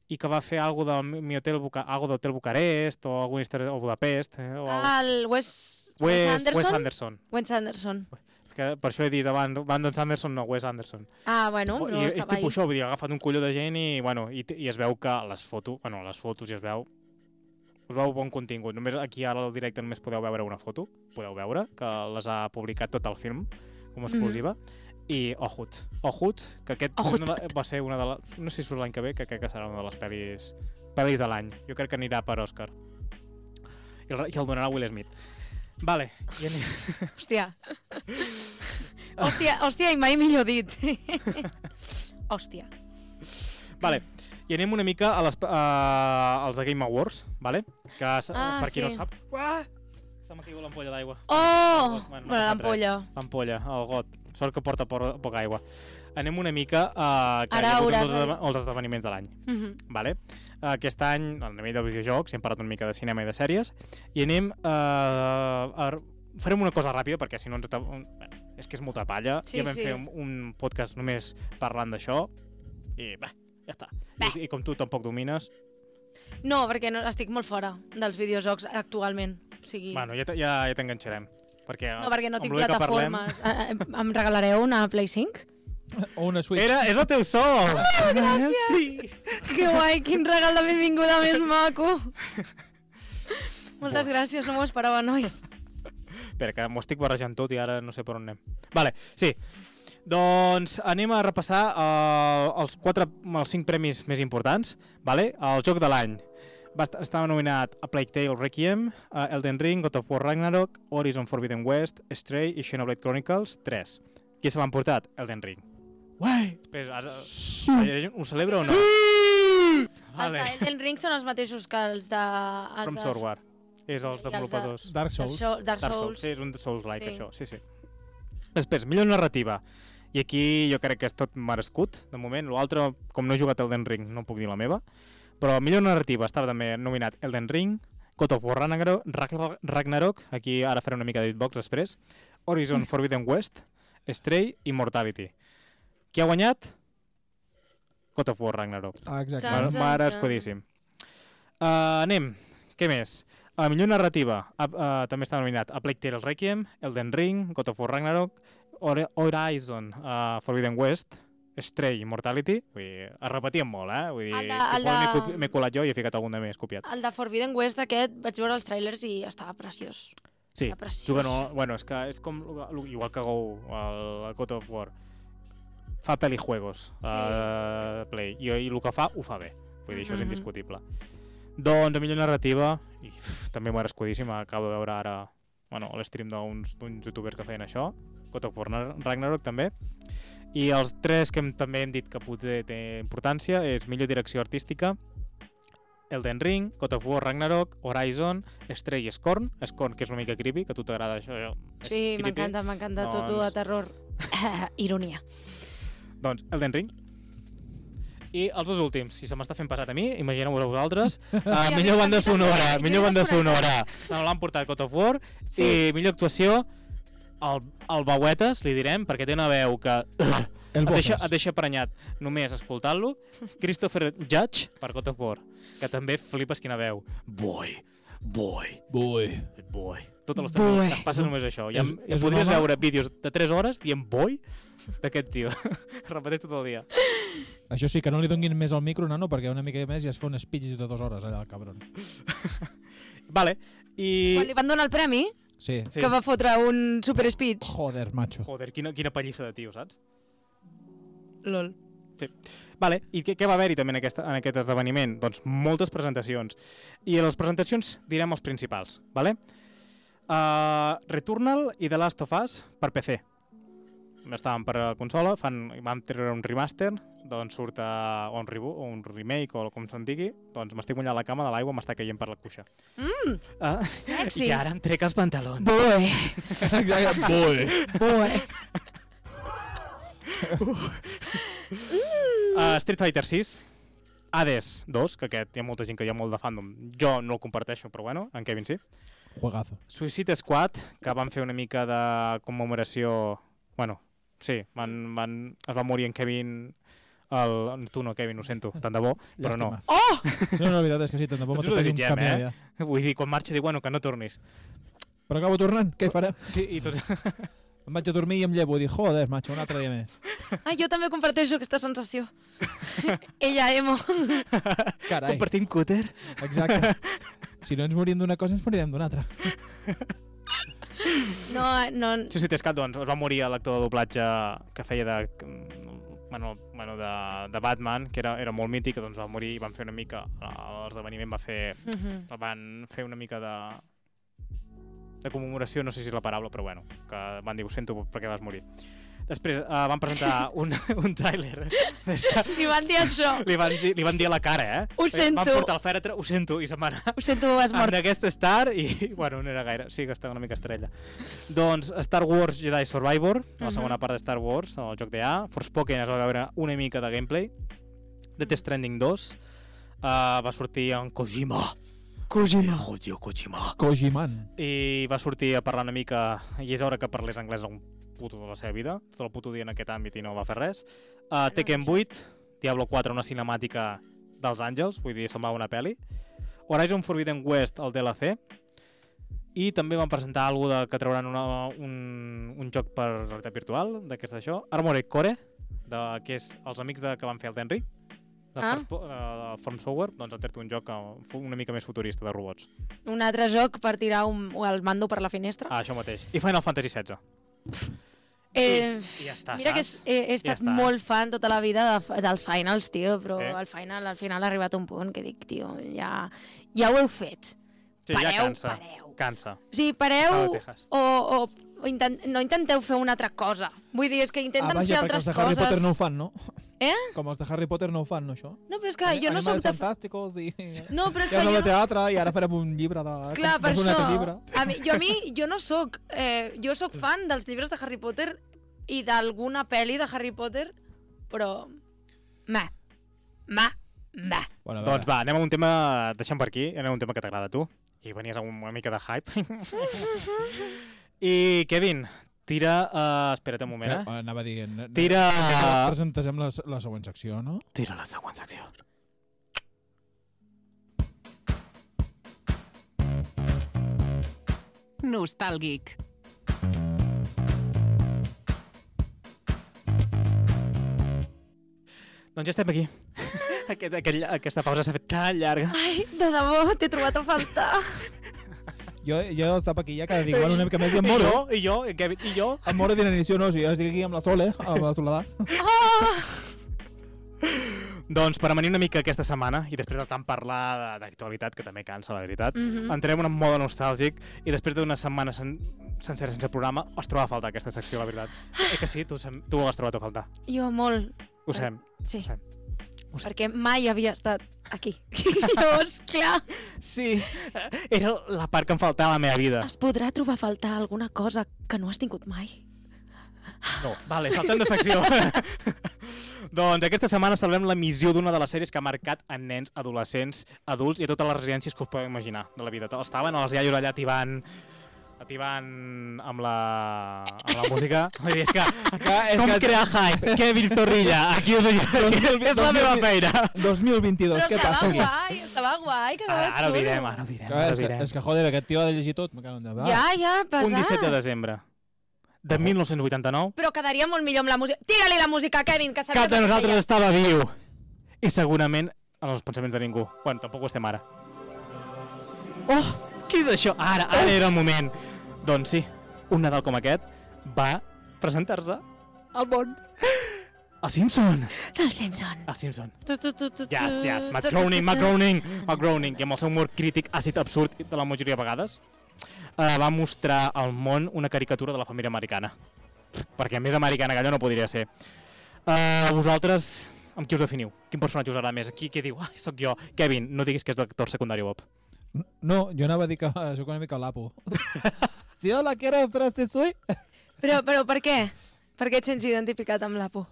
B: i que va fer algo del mi mi hotel Buca, algo d'Hotel Bucarest o alguna història o Budapest eh, o algo-
C: El Wes... Ah, Wes
B: Wes,
C: Anderson?
B: Wes Anderson.
C: Wes Anderson.
B: Que per això he dit abans, Brandon Sanderson, no, Wes Anderson.
C: Ah, bueno,
B: Bo-
C: però
B: I és
C: estava
B: tipus
C: ahí.
B: això, vull dir, ha agafat un colló de gent i, bueno, i, t- i es veu que les fotos, bueno, les fotos i es veu us veu bon contingut. Només aquí ara al directe només podeu veure una foto, podeu veure, que les ha publicat tot el film com a
C: Mhm.
B: exclusiva. I Ohut. Ohut, que aquest
C: Ohut.
B: no la- va ser una de les... No sé si surt l'any que ve, que crec que serà una de les pel·lis, pel·lis de l'any. Jo crec que anirà per Òscar. I el, I el donarà Will Smith. Vale. I anem...
C: Hòstia.
B: *laughs*
C: hòstia, hòstia, i mai millor
B: *laughs*
C: dit. hòstia.
B: Vale. I anem una mica a les, uh, als de Game Awards, vale? que ah,
C: Ah,
B: per qui no
C: sí.
B: sap... Uah! Se m'ha caigut l'ampolla d'aigua.
C: Oh!
B: Bueno, no
C: Bueno,
B: ha passat
C: l'ampolla.
B: L'ampolla, el got. Sort que porta por, poca aigua. Anem una mica a... que
C: Ara
B: hi ha hagut
C: hauràs
B: els,
C: de-
B: esdeva- els esdeveniments de l'any.
C: Mhm.
B: Vale? Aquest any, a nivell de videojocs, hem parlat una mica de cinema i de sèries, i anem eh, a... Farem una cosa ràpida, perquè si no ens... ata- un- eh, És que és molta palla.
C: Sí,
B: ja vam
C: sí.
B: fer un, un podcast només parlant d'això, i bé, ja està. I, I com tu tampoc domines,
C: No, perquè no, estic molt fora dels videojocs actualment. O sigui...
B: bueno, ja, te- ja, ja t'enganxarem. Perquè
C: no, perquè no
B: amb
C: tinc
B: l'únic que parlem-
C: plataformes. Eh, eh, Em regalareu una Play 5?
E: O una Switch.
B: Era, és el teu sol! Ah, gràcies! Sí.
C: Que guai, quin regal de benvinguda més *laughs* maco.
B: Buah.
C: Moltes gràcies, no m'ho esperava, nois.
B: Espera, que m'ho estic barrejant tot i ara no sé per on anem. Vale, sí. Doncs anem a repassar uh, els, quatre, els cinc premis més importants. Vale? El joc de l'any. Va est- estava nominat a Plague Tale Requiem, a Elden Ring, God of War Ragnarok, Horizon Forbidden West, Stray i Xenoblade Chronicles 3. Qui se l'han portat? Elden Ring.
E: Uai!
B: Però ara,
E: Sí.
B: ho celebra o no?
C: Vale. Els d'Elden Ring són els mateixos que els de... Els
B: From
C: de-
B: Software. És els
C: els de-
B: desenvolupadors.
E: Dark
C: Dark
E: Souls.
C: Souls. Dark
B: Dark Souls.
C: Souls.
B: Sí, és un Souls-like, sí.
C: Sí.
B: això. Sí, sí. Després, millor narrativa. I aquí jo crec que és tot merescut, de moment. L'altre, com no he jugat a Elden Ring, no puc dir la meva. Però millor narrativa estava també nominat Elden Ring, God of War Ragnarok, Ragnar- Ragnarok aquí ara faré una mica de beatbox després, Horizon Forbidden West, Stray i Mortality. Qui ha guanyat? God of War Ragnarok.
E: Ah, exacte.
C: Chan,
B: Mar
C: chan,
B: Merescudíssim. Uh, anem, què més? A millor narrativa, a, uh, també està nominat A Plague Tale Requiem, Elden Ring, God of War Ragnarok, Hor- Horizon, uh, Forbidden West, Stray, Immortality, vull dir, es repetien molt, eh? Vull dir,
C: El de-
B: igual
C: el de-
B: m'he cop- m'he colat jo i he ficat algun de més copiat.
C: El de Forbidden West aquest, vaig veure els trailers i estava preciós.
B: Sí,
C: Era preciós.
B: tu que no, bueno, és que és com lo- igual que Go, el God of War. Fa pelijuegos a Play, i, i el que fa ho fa bé. Vull dir, això és
C: Mhm.
B: indiscutible. Doncs, a millor narrativa, i uf, també merescudíssima, acabo de veure ara bueno, l'stream d'uns d'uns youtubers que feien això, God of War Nar- Ragnarok també, i els tres que hem, també hem dit que potser té importància és millor direcció artística, Elden Ring, God of War Ragnarok, Horizon, Stray i Scorn, Scorn que és una mica creepy, que a tu t'agrada això, jo- és
C: Sí,
B: creepy.
C: m'encanta, m'encanta
B: Doncs-
C: tot ho de terror. *laughs* Ironia.
B: Doncs Elden Ring. I els dos últims, si se m'està fent pesat a mi, imagineu-vos a vosaltres.
C: *laughs*
B: Uh,
C: mi
B: millor
C: també,
B: banda
C: també,
B: sonora,
C: jo
B: millor
C: he
B: banda
C: desconnectat.
B: sonora. Se l'han portat God of War.
C: Sí.
B: Sí. I millor actuació, el, el Bauetes, li direm, perquè té una veu que
C: *laughs*
E: El
B: et deixa,
E: Bofes.
B: et deixa prenyat només escoltant-lo. Christopher Judge per God of War, que també flipes quina veu. Boy, boy,
E: Bui.
B: boy. Tota
C: Boy.
B: l'estona es passa només això. Ja,
E: És-
B: ja
E: és un
B: podries
E: home-
B: veure vídeos de 3 hores dient boy d'aquest tio. *laughs* Repeteix tot el dia.
E: Això sí, que no li donguin més al micro, nano, perquè una mica més i es fa un speech de dues hores allà, el cabron.
B: Vale. I...
C: Quan li van donar el premi,
E: Sí.
B: Sí.
C: que va fotre un super speech.
E: Joder, macho.
B: Joder, quina, quina pallissa de tio, saps?
C: Lol.
B: Vale, i què, què va haver-hi també en, aquesta, en aquest esdeveniment? Doncs moltes presentacions. I a les presentacions direm els principals, vale? Uh, Returnal i The Last of Us per PC. Estaven per a consola, fan, vam treure un remaster, doncs surt a, o un, rebo, o un remake o com se'n digui, doncs m'estic mullant la cama de l'aigua, m'està caient per la cuixa.
C: Mm,
B: Uh,
C: sexy.
B: I ara em trec els
A: *laughs*
B: pantalons.
C: Boy,
E: Exacte. Bui.
C: boy.
B: Uh, Street Fighter 6, Hades 2, que aquest hi ha molta gent que hi ha molt de fandom. Jo no el comparteixo, però bueno, en Kevin sí.
E: Juegazo.
B: Suicide Squad, que van fer una mica de commemoració... Bueno, sí, van, van, es va morir en Kevin... El... Tu no, Kevin, ho sento, tant de bo, però no.
E: Llàstima. Oh! Sí, no, la veritat és que sí, tant de bo
B: Tots ho
E: m'ho topés un
B: desitgem,
E: camió
B: eh?
E: allà.
B: Vull dir, quan marxi, diu, bueno, que no tornis.
E: Però acabo tornant, què hi farem?
B: Sí, i tots...
E: Em vaig a dormir i em llevo i dic, joder, macho, un altre dia més.
C: Ah, jo també comparteixo aquesta sensació.
B: *laughs*
C: Ella, emo.
E: Carai,
B: Compartim cúter.
E: exacte. Si no ens morim d'una cosa, ens morirem d'una altra.
C: No, no,
B: Suicide Squad, doncs, es va morir l'actor de doblatge que feia de... Bueno, bueno de, de Batman, que era, era molt mític, doncs va morir i van fer una mica... a L'esdeveniment va fer
C: Mhm.
B: el van fer una mica de de commemoració, no sé si és la paraula, però bueno, que van dir, ho sento perquè vas morir. Després uh, van presentar
C: *laughs*
B: un, un tràiler. d'esta-
C: I van dir això.
B: Li van, dir, li van dir a la cara, eh?
C: Ho sento.
B: Van portar el fèretre, ho sento, i se'n va anar
C: Ho sento, has
B: amb
C: mort.
B: d'aquest Star i, *laughs* bueno, no era gaire, sí que estava una mica estrella. doncs Star Wars Jedi Survivor, la
C: Mhm.
B: segona part de Star Wars, el joc de A, Forspoken es va veure una mica de gameplay, Death Stranding 2, uh, va sortir en Kojima, Kojima, Hojio Kojima,
E: Kojiman.
B: i va sortir a parlar una mica, i és hora que parlés anglès algun puto de la seva vida, tot el puto dia en aquest àmbit i no va fer res, uh, Tekken 8, Diablo 4, una cinemàtica dels Àngels, vull dir, semblava una pel·li, Horizon Forbidden West, el DLC, i també van presentar algo de, que trauran una, un, un joc per realitat virtual, d'aquest d'això, Armored Core, de, que és els amics de, que van fer el Tenry, de ah.
C: Ah.
B: First, uh, From Software, doncs han tret un joc eh, fu- una mica més futurista de robots.
C: Un altre joc per tirar un, el mando per la finestra.
B: Ah, això mateix. I Final Fantasy XVI.
C: Eh,
B: I ja està,
C: mira que eh,
B: saps?
C: he, he estat
B: està.
C: molt fan tota la vida de, f- dels finals, tio, però
B: Sí.
C: al final al final ha arribat un punt que dic, tio, ja, ja ho heu fet.
B: Sí, ja
C: Pareu,
B: cansa.
C: pareu.
B: Cansa.
C: O sigui,
B: Ah,
C: pareu
B: Texas.
C: o, o, o intent, no intenteu fer una altra cosa. Vull dir, és que intenten
E: ah, vaja,
C: fer
E: perquè
C: altres
E: els de Harry
C: coses.
E: Potter no ho fan, no?
C: Eh?
E: Com els de Harry Potter no ho fan, no, això?
C: No, però és que jo no soc
E: Animals
C: de... fa-
E: fantàsticos i...
C: No, però és
E: Hi ha
C: que jo
E: una de teatre i ara farem un llibre de...
B: Ah,
C: Clar,
E: com-
C: per
E: doncs un
C: això...
E: altre llibre.
C: A mi, jo a mi, jo no sóc... Eh, jo sóc fan dels llibres de Harry Potter i d'alguna pel·li de Harry Potter, però... Meh. Meh. Meh.
E: Bueno, a veure,
B: Doncs va, anem a un tema... Deixem per aquí, anem a un tema que t'agrada a tu. I venies amb una mica de
C: *laughs*
B: hype. I, Kevin, tira... Uh, espera't un moment, eh?
E: Eh, Anava dient...
B: Tira...
E: Presentem la, la següent secció, no?
B: Tira la següent secció.
A: Nostàlgic.
B: Doncs ja
C: *laughs*
B: estem aquí. Aquest, aquell, aquesta pausa s'ha fet tan llarga.
C: Ai, de debò, t'he trobat a faltar.
E: Jo, jo estava aquí ja que dic, bueno, una mica més i em moro.
B: I jo, i jo, Kevin, i jo...
E: Em moro dient inició, no, si jo estic aquí amb la Sole, amb la Soledat.
B: Doncs per amanir una mica aquesta setmana, i després de tant parlar de- d'actualitat, que també cansa, la veritat, mm -hmm. entrem en un mode nostàlgic, i després d'una setmana sen sencera sense programa, es troba a faltar aquesta secció, la veritat. Eh que sí, tu, sem- tu ho has trobat a faltar.
C: Jo molt,
B: Ho sabem.
C: sí.
B: Sí.
C: Perquè mai havia estat *laughs* aquí. Llavors, clar,
B: Sí, era la part que em faltava a la meva vida.
C: es podrà trobar a faltar alguna cosa que no has tingut mai.
B: No, vale, saltem de secció. *laughs* doncs aquesta setmana celebrem l'emissió d'una de les sèries que ha marcat a nens, adolescents, adults i a totes les residències que us podeu imaginar de la vida. Estaven els iaios allà tibant activant amb la, amb la música. *laughs* Vull dir, és que,
E: Clar, és
B: com
E: que-
B: crear hype? *laughs* Kevin Zorrilla, aquí us *laughs* ajudaré. és la meva feina.
E: 2022, què passa aquí?
C: guai, estava guai,
B: Ara, ara ho direm, ara ho direm.
E: Clar,
B: Ara ho
E: és, que,
B: direm.
E: és que, joder, aquest tio ha de llegir tot. Me cago en Déu.
C: Ja, ja, pesat.
B: Un 17 de desembre de 1989,
C: Però quedaria molt millor amb la música. Tira-li la música, Kevin, que sabies
B: cap de
C: el que
B: nosaltres
C: feies.
B: estava viu. I segurament en els pensaments de ningú. Bueno, tampoc ho estem ara. Oh, què és això? Ara, ara era el moment. Doncs sí, un Nadal com aquest va presentar-se al món. *gasps* El Simpson.
D: Del Simpson.
B: El Simpson.
C: Tu, tu, tu, tu, tu.
B: Yes, yes,
C: Tu, tu, tu,
B: McGroaning,
C: tu.
B: McGroaning, McGroaning, que amb el seu humor crític àcid absurd de la majoria de vegades eh, va mostrar al món una caricatura de la família americana. Perquè més americana que allò no podria ser. Uh, vosaltres, amb qui us definiu? Quin personatge us agrada més? Qui, qui diu, ai, sóc jo, Kevin, no diguis que és l'actor secundari Bob.
E: No, jo anava a dir que eh, sóc una mica lapo. si yo la quiero frase soy...
C: Però, però per què? Per què et sents identificat amb l'Apo?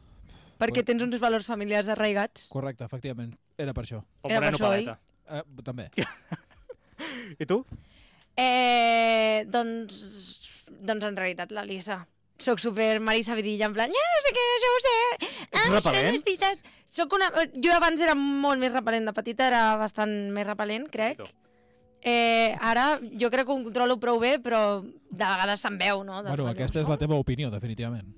C: Perquè tens uns valors familiars arraigats?
E: Correcte, efectivament. Era per això.
B: O
C: Era per
B: Moreno
C: això, oi?
B: Paleta.
E: Eh, també.
B: I tu?
C: Eh, doncs, doncs en realitat la Lisa. Soc super Marisa Vidilla, en plan, ja, no sé què, això ho sé. Ah,
B: Ets
C: això no
B: repel·lent?
C: és veritat. Soc una... Jo abans era molt més repel·lent, de petita era bastant més repel·lent, crec.
B: Poquito.
C: Eh, ara jo crec que ho controlo prou bé, però de vegades se'n veu, no? Del
E: Bueno,
C: rotllo,
E: aquesta és la teva opinió, definitivament.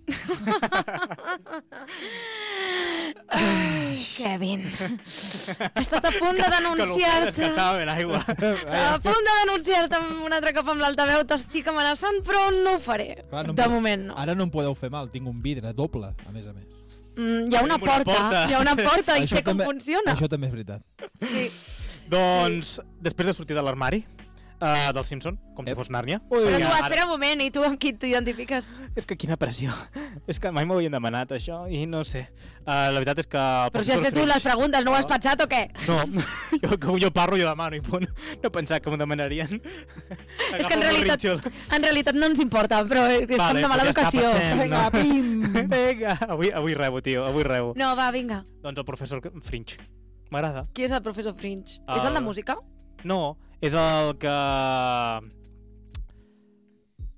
C: Ai,
E: *laughs*
C: Kevin, he estat a punt de
B: Que
C: denunciar-te.
B: estava en
C: *laughs*
B: aigua.
E: eh?
C: A punt de denunciar-te amb un altre cop amb l'altaveu, t'estic amenaçant, però no ho faré.
E: Clar, no em
C: de
E: puc-
C: moment no.
E: Ara no em podeu fer mal, tinc un vidre doble, a més a més.
C: Mm, hi ha
B: Tenim
C: una
B: una
C: porta,
B: porta.
C: hi ha una porta i
E: Això
C: sé com
E: també-
C: funciona.
E: Això també és veritat.
C: Sí.
B: doncs, després de sortir de l'armari, uh, del Simpson, com si
E: Ep.
B: fos Nàrnia.
E: Ui,
C: Però tu,
B: ara-
C: espera un moment, i tu amb qui t'identifiques?
B: És que quina pressió. *laughs* És que mai m'ho havien demanat, això, i no sé. Uh, la veritat és que... el
C: Però si
B: professor
C: has fet tu les
B: Fringe-
C: preguntes, no ho has
B: No.
C: pensat o què?
B: No, *laughs* jo, com jo parlo, jo demano, i punt. No pensava que m'ho demanarien. *laughs*
C: és que en realitat, en realitat no ens importa, però és com de mala educació.
B: Vinga, pim! *laughs* Vinga! Avui, avui rebo, tio, avui rebo.
C: no, va, vinga.
B: Doncs el professor Fringe. M'agrada.
C: Qui és el professor Fringe?
E: Ah.
C: És el de
B: El-
C: música?
B: No, és el que...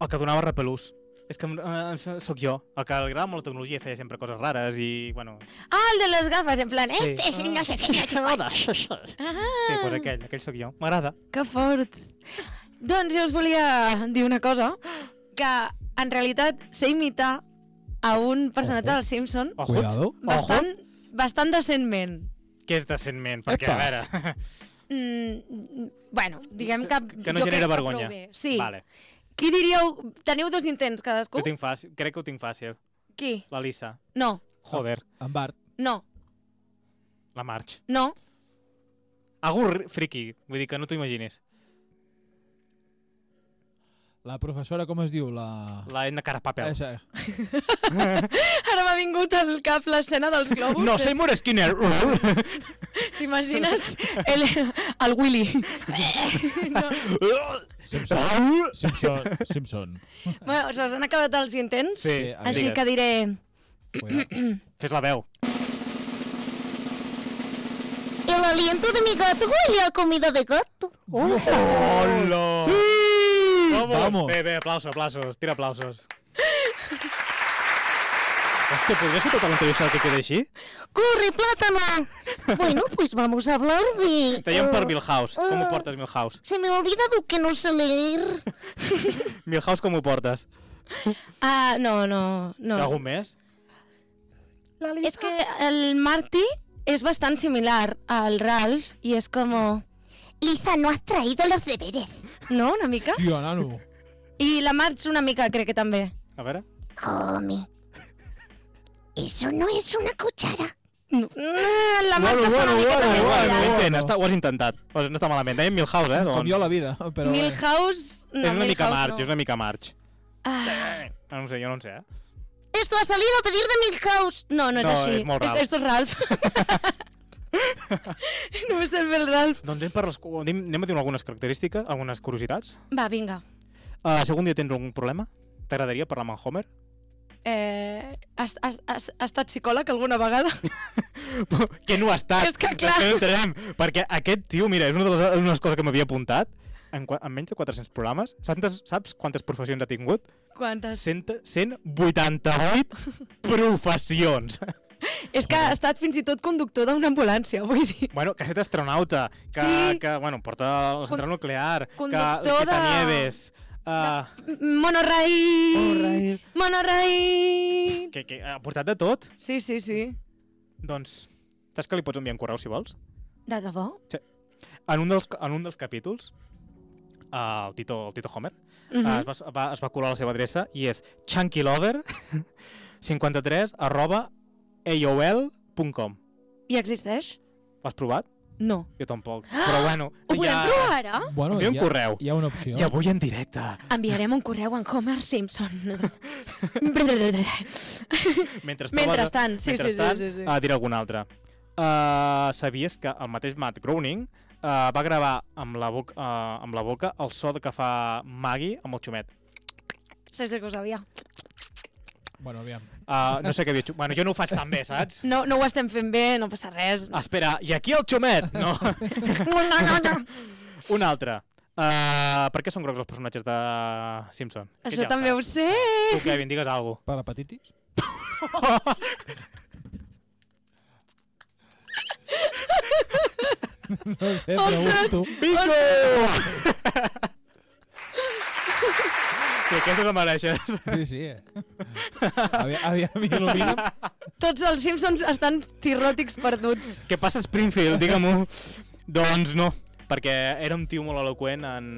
B: El que donava repelús. És que eh, sóc jo, el que li agrada molt la tecnologia i feia sempre coses rares i, bueno...
C: Ah, el de les gafes, en plan, eh?
B: Sí.
D: Este es no sé qué, no sé cuánto.
B: Sí,
C: Ah.
B: doncs aquell, aquell sóc jo. M'agrada.
C: Que fort. Doncs jo us volia dir una cosa, que en realitat sé imitar a un personatge
E: Ojo.
C: del Simpson
B: Ojo.
E: Cuidado.
C: bastant, bastant decentment.
B: Que és decentment, perquè,
E: Epa.
B: a veure...
C: Mm, bueno, diguem
B: Sí,
C: que...
B: que no
C: jo crec
B: genera
C: prou
B: vergonya.
C: bé. *laughs* Sí,
B: *laughs* Vale.
C: Qui diríeu... Teniu dos intents cadascú?
B: Jo tinc fàcil, crec que ho tinc fàcil.
C: Qui?
B: La Lisa.
C: No,
B: Joder,
E: En Bart.
C: no,
B: la March.
C: no.
B: Algú ri- friki, vull dir que no t'ho imaginis.
E: La professora, com es diu? La... Eh,
B: La Edna Carapapel.
E: Esa.
C: Ara m'ha vingut al cap l'escena dels globus.
B: No, Seymour Skinner!
C: T'imagines el, el
B: *laughs*
C: Willy. no.
E: Simpson. Simpson. Simpson.
C: Bueno, se us han acabat els intents?
B: Sí,
E: Sí,
C: Així
B: digues.
C: que diré...
E: Cuidado.
B: Fes la veu.
D: El aliento de mi gato huele a comida de gato.
B: Hola! Sí! Vamos!
E: Vamos.
B: Bé, bé, aplausos, aplausos. Tira aplausos. *laughs* Hòstia, podria ser tota l'entrevista que queda així?
D: ¡Corre, plátano! Bueno, pues vamos a hablar de...
B: Teiem per
C: Uh.
D: eh,
B: Milhouse. Com ho
D: eh.
B: portes, Milhouse?
D: Se me ha olvidado que no sé leer.
B: Milhouse, com ho portes?
C: Ah, no, no, no.
B: Hi ha algú més?
C: És que el Marty és bastant similar al Ralph i és com...
D: Liza, no has traído los deberes.
C: No, una mica?
E: Tio, nano.
C: I la Marge una mica, crec que també.
B: A veure.
D: Homie. Eso no es una cuchara.
C: No, Mm, la Marge està una mica també
B: bueno,
C: similar.
B: ho intent, està, ho has intentat. Pues no està malament. Dèiem Milhouse, eh?
E: Com
B: Doncs.
E: jo a la vida, però... bé.
C: Milhouse... No,
B: és una mica
C: Milhouse
B: March,
C: no.
B: és una mica March.
C: Ah,
B: Ah, no ho sé, jo no en sé, eh?
D: Esto ha salido a pedir de Milhouse.
C: no, no és
B: No,
C: així.
B: és molt Ralph.
C: Esto és Ralph. Només el ve el Ralph.
B: Doncs anem, per les, cu- anem, anem a dir algunes característiques, algunes curiositats.
C: Va, vinga.
B: Uh, segon dia tens algun problema? T'agradaria parlar amb en Homer?
C: Eh, has, has, has, has estat psicòleg alguna vegada?
B: *laughs* que no ha estat?
C: És que, clar.
B: Després entrarem, perquè aquest tio, mira, és una de les unes coses que m'havia apuntat. En, qua- en menys de 400 programes, saps, saps quantes professions ha tingut?
C: Quantes?
B: 100,
C: *laughs*
B: 188 professions!
C: És que ha estat fins i tot conductor d'una ambulància, vull dir.
B: Bueno, que ha estat astronauta, que,
C: Sí.
B: que bueno, porta la central nuclear,
C: conductor
B: que
C: de-
B: Nieves, uh,
C: Monorail!
B: Monorail.
C: Monorail!
B: que, que ha portat de tot.
C: Sí, sí, sí.
B: Doncs, saps que li pots enviar un correu si vols?
C: De debò?
B: En un dels, en un dels capítols, uh, el, Tito, el Tito Homer,
C: Uh
B: uh, es, va, va, es va colar la seva adreça i és *laughs* chunkylover53 arroba aol.com.
C: I existeix?
B: Ho has provat?
C: No.
B: Jo tampoc. Però bueno,
C: Ah! Ho podem provar ara?
E: Bueno,
B: Envia un
E: hi ha,
B: correu.
E: hi ha una opció.
B: I avui en directe.
C: Enviarem un correu en Homer *laughs* Simpson.
B: Mentre estava-
C: Mentrestant, sí, sí, sí,
B: Mentrestant,
C: sí, sí.
B: Uh, diré alguna altra. Uh, sabies que el mateix Matt Groening uh, va gravar amb la, boca, uh, amb la boca el so que fa Maggie amb el xumet.
C: Sí, sí que ho sabia.
E: Bueno, aviam.
B: Uh, no sé què havia xumet. Bueno, jo no ho faig tan bé, saps?
C: No, no ho estem fent bé, no passa res.
B: Espera, i aquí el xumet!
C: *laughs*
B: No.
C: Ah. No, no, no.
B: Un altre. Uh, per què són grocs els personatges de Simpson? Aquest
C: *laughs* Això
B: ja
C: també ho
B: saps.
C: sé.
B: Tu, Kevin, digues alguna
E: Per hepatitis? no sé,
C: Ostres!
E: pregunto.
B: Bingo! *laughs* Sí, aquesta la mereixes.
E: Sí, sí. Eh? Aviam, aviam, il·lumina'm.
C: Tots els Simpsons estan cirròtics perduts.
B: Què passa, Springfield? Digue-m'ho. doncs no, perquè era un tio molt eloqüent en,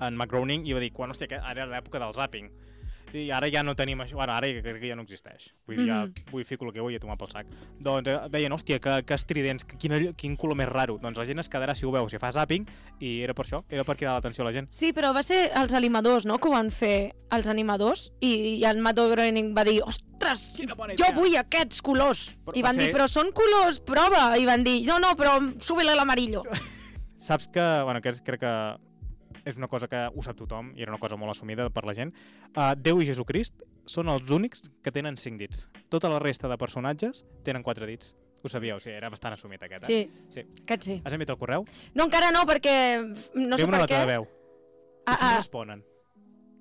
B: en McGroening i va dir, quan, hòstia, que ara era l'època del zapping. I ara ja no tenim això, bueno, ara ja crec que ja no existeix. Vull dir,
C: Mhm.
B: mm -hmm. ja, vull fico el que vull i a tomar pel sac. Doncs eh, deien, hòstia, que, que estridents, que, quin, all- quin color més raro. Doncs la gent es quedarà si ho veu, si fa zapping, i era per això, era per cridar l'atenció a la gent.
C: Sí, però va ser els animadors, no?, que ho van fer els animadors, i, i el Matt Groening va dir, ostres,
B: Quina bona
C: jo vull aquests colors.
B: Però
C: I
B: va
C: van dir,
B: ser-
C: però són colors, prova. I van dir, no, no, però súbele l'amarillo.
B: Saps que, bueno, que és, crec que és una cosa que ho sap tothom i era una cosa molt assumida per la gent. Uh, Déu i Jesucrist són els únics que tenen cinc dits. Tota la resta de personatges tenen quatre dits. Ho sabíeu, sí, era bastant assumit aquest. Eh?
C: Sí,
B: Sí.
C: aquest sí.
B: Has enviat el correu?
C: No, encara no, perquè no sé
B: Fem una
C: per
B: nota
C: què.
B: de veu. Ah,
C: Ah,
B: si no
C: ah,
B: responen.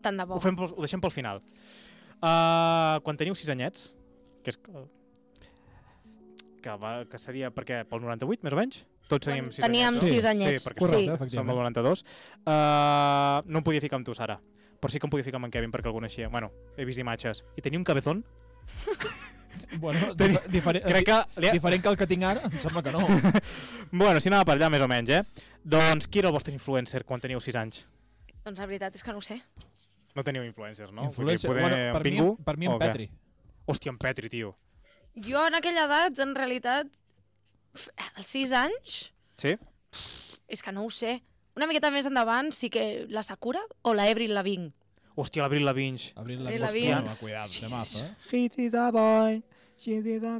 C: tant de bo.
B: Ho, fem pel, ho deixem pel final. Uh, quan teniu sis anyets, que és... que- Que, va, que seria perquè pel 98, més o menys? Tots teníem sis
C: teníem
B: anyets. no?
C: sis anyets,
B: Sí, perquè
C: Correcte,
B: som- som
E: efectivament.
B: del 92. Uh, no em podia ficar amb tu, Sara. Però sí que em podia ficar amb en Kevin perquè el coneixia. Bueno, he vist imatges. I tenia un cabezón. *laughs*
E: Bueno,
B: Teni-
E: difer diferent,
B: Crec que... Li ha...
E: diferent que el que tinc ara, em sembla
B: *laughs*
E: que no.
B: Bueno, si anava per allà, més o menys, eh? Doncs qui era el vostre influencer quan teníeu 6 anys?
C: Doncs la veritat és que no ho sé.
B: No teníeu influències, no?
E: Influencer-
B: Vull dir, poder
E: bueno, per, mi,
B: Pingu
E: per mi
B: o
E: en
B: què?
E: Petri.
B: Hòstia, en Petri, tio.
C: Jo en aquella edat, en realitat, f- als 6 anys,
B: Sí?
C: és que no ho sé. Una miqueta més endavant sí que la Sakura o la Avril Lavigne.
B: Hòstia, l'Abril Lavinch.
E: Abril la
C: Abril
E: Hòstia,
B: Lavigne.
E: cuidado, de mazo, eh?
B: He is a boy, she is a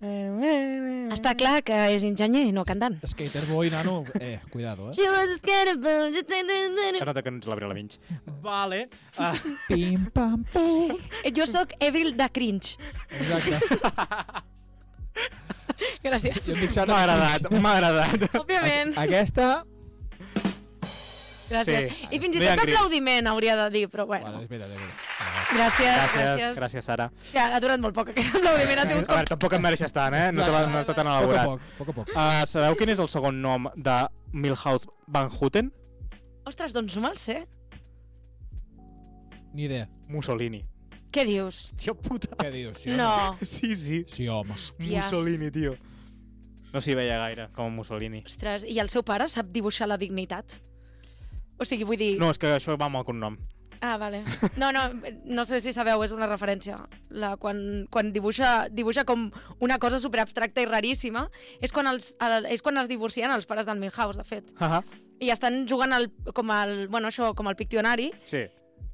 B: Eh, girl.
C: Està clar que és enginyer, no cantant.
E: Skater boy, nano, eh, cuidado, eh?
C: She was a scatterbug, just a- a- a-
B: Es nota que no ets l'Abril Lavinch. Vale. Ah,
E: Pim, pam, pum.
C: a- Jo sóc Avril de cringe.
E: Exacte. Jo em
C: Gràcies.
E: dic Sara.
B: m'ha agradat, m'ha agradat.
C: Òbviament.
E: Aquesta...
C: Gràcies.
B: Sí.
C: I fins i
B: No hi ha
C: tot
B: cringe.
C: aplaudiment hauria de dir, però
E: Bueno,
C: bueno.
E: és veritat, és veritat.
C: Gràcies,
B: Gràcies,
C: gràcies.
B: gràcies, Sara.
C: Ja, ha durat molt poc aquest aplaudiment, ha
B: A
C: sigut com...
B: veure, tampoc em mereixes tant, eh? No, te va, no està tan
E: Poc a
B: elaborat.
E: poc, poc a poc.
B: Uh, sabeu quin és el segon nom de Milhouse Van Houten?
C: Ostres, doncs no me'l sé.
E: Ni idea.
B: Mussolini.
C: Què dius?
B: Hòstia puta.
E: Què dius? Sí,
C: No. Doncs
B: Sí, sí.
E: Sí, home.
C: Hòsties.
B: Mussolini, tio. No s'hi veia gaire, com a Mussolini.
C: Ostres, i el seu pare sap dibuixar la dignitat? O sigui, vull dir...
B: No, és que això va amb el cognom.
C: Ah, vale. No, no, no sé si sabeu, és una referència. La, quan quan dibuixa, dibuixa com una cosa superabstracta i raríssima, és quan, els, el, és quan es divorcien els pares del Milhouse, de fet.
B: Haha,
C: I estan jugant al, com, el, bueno, això, com el piccionari
B: sí.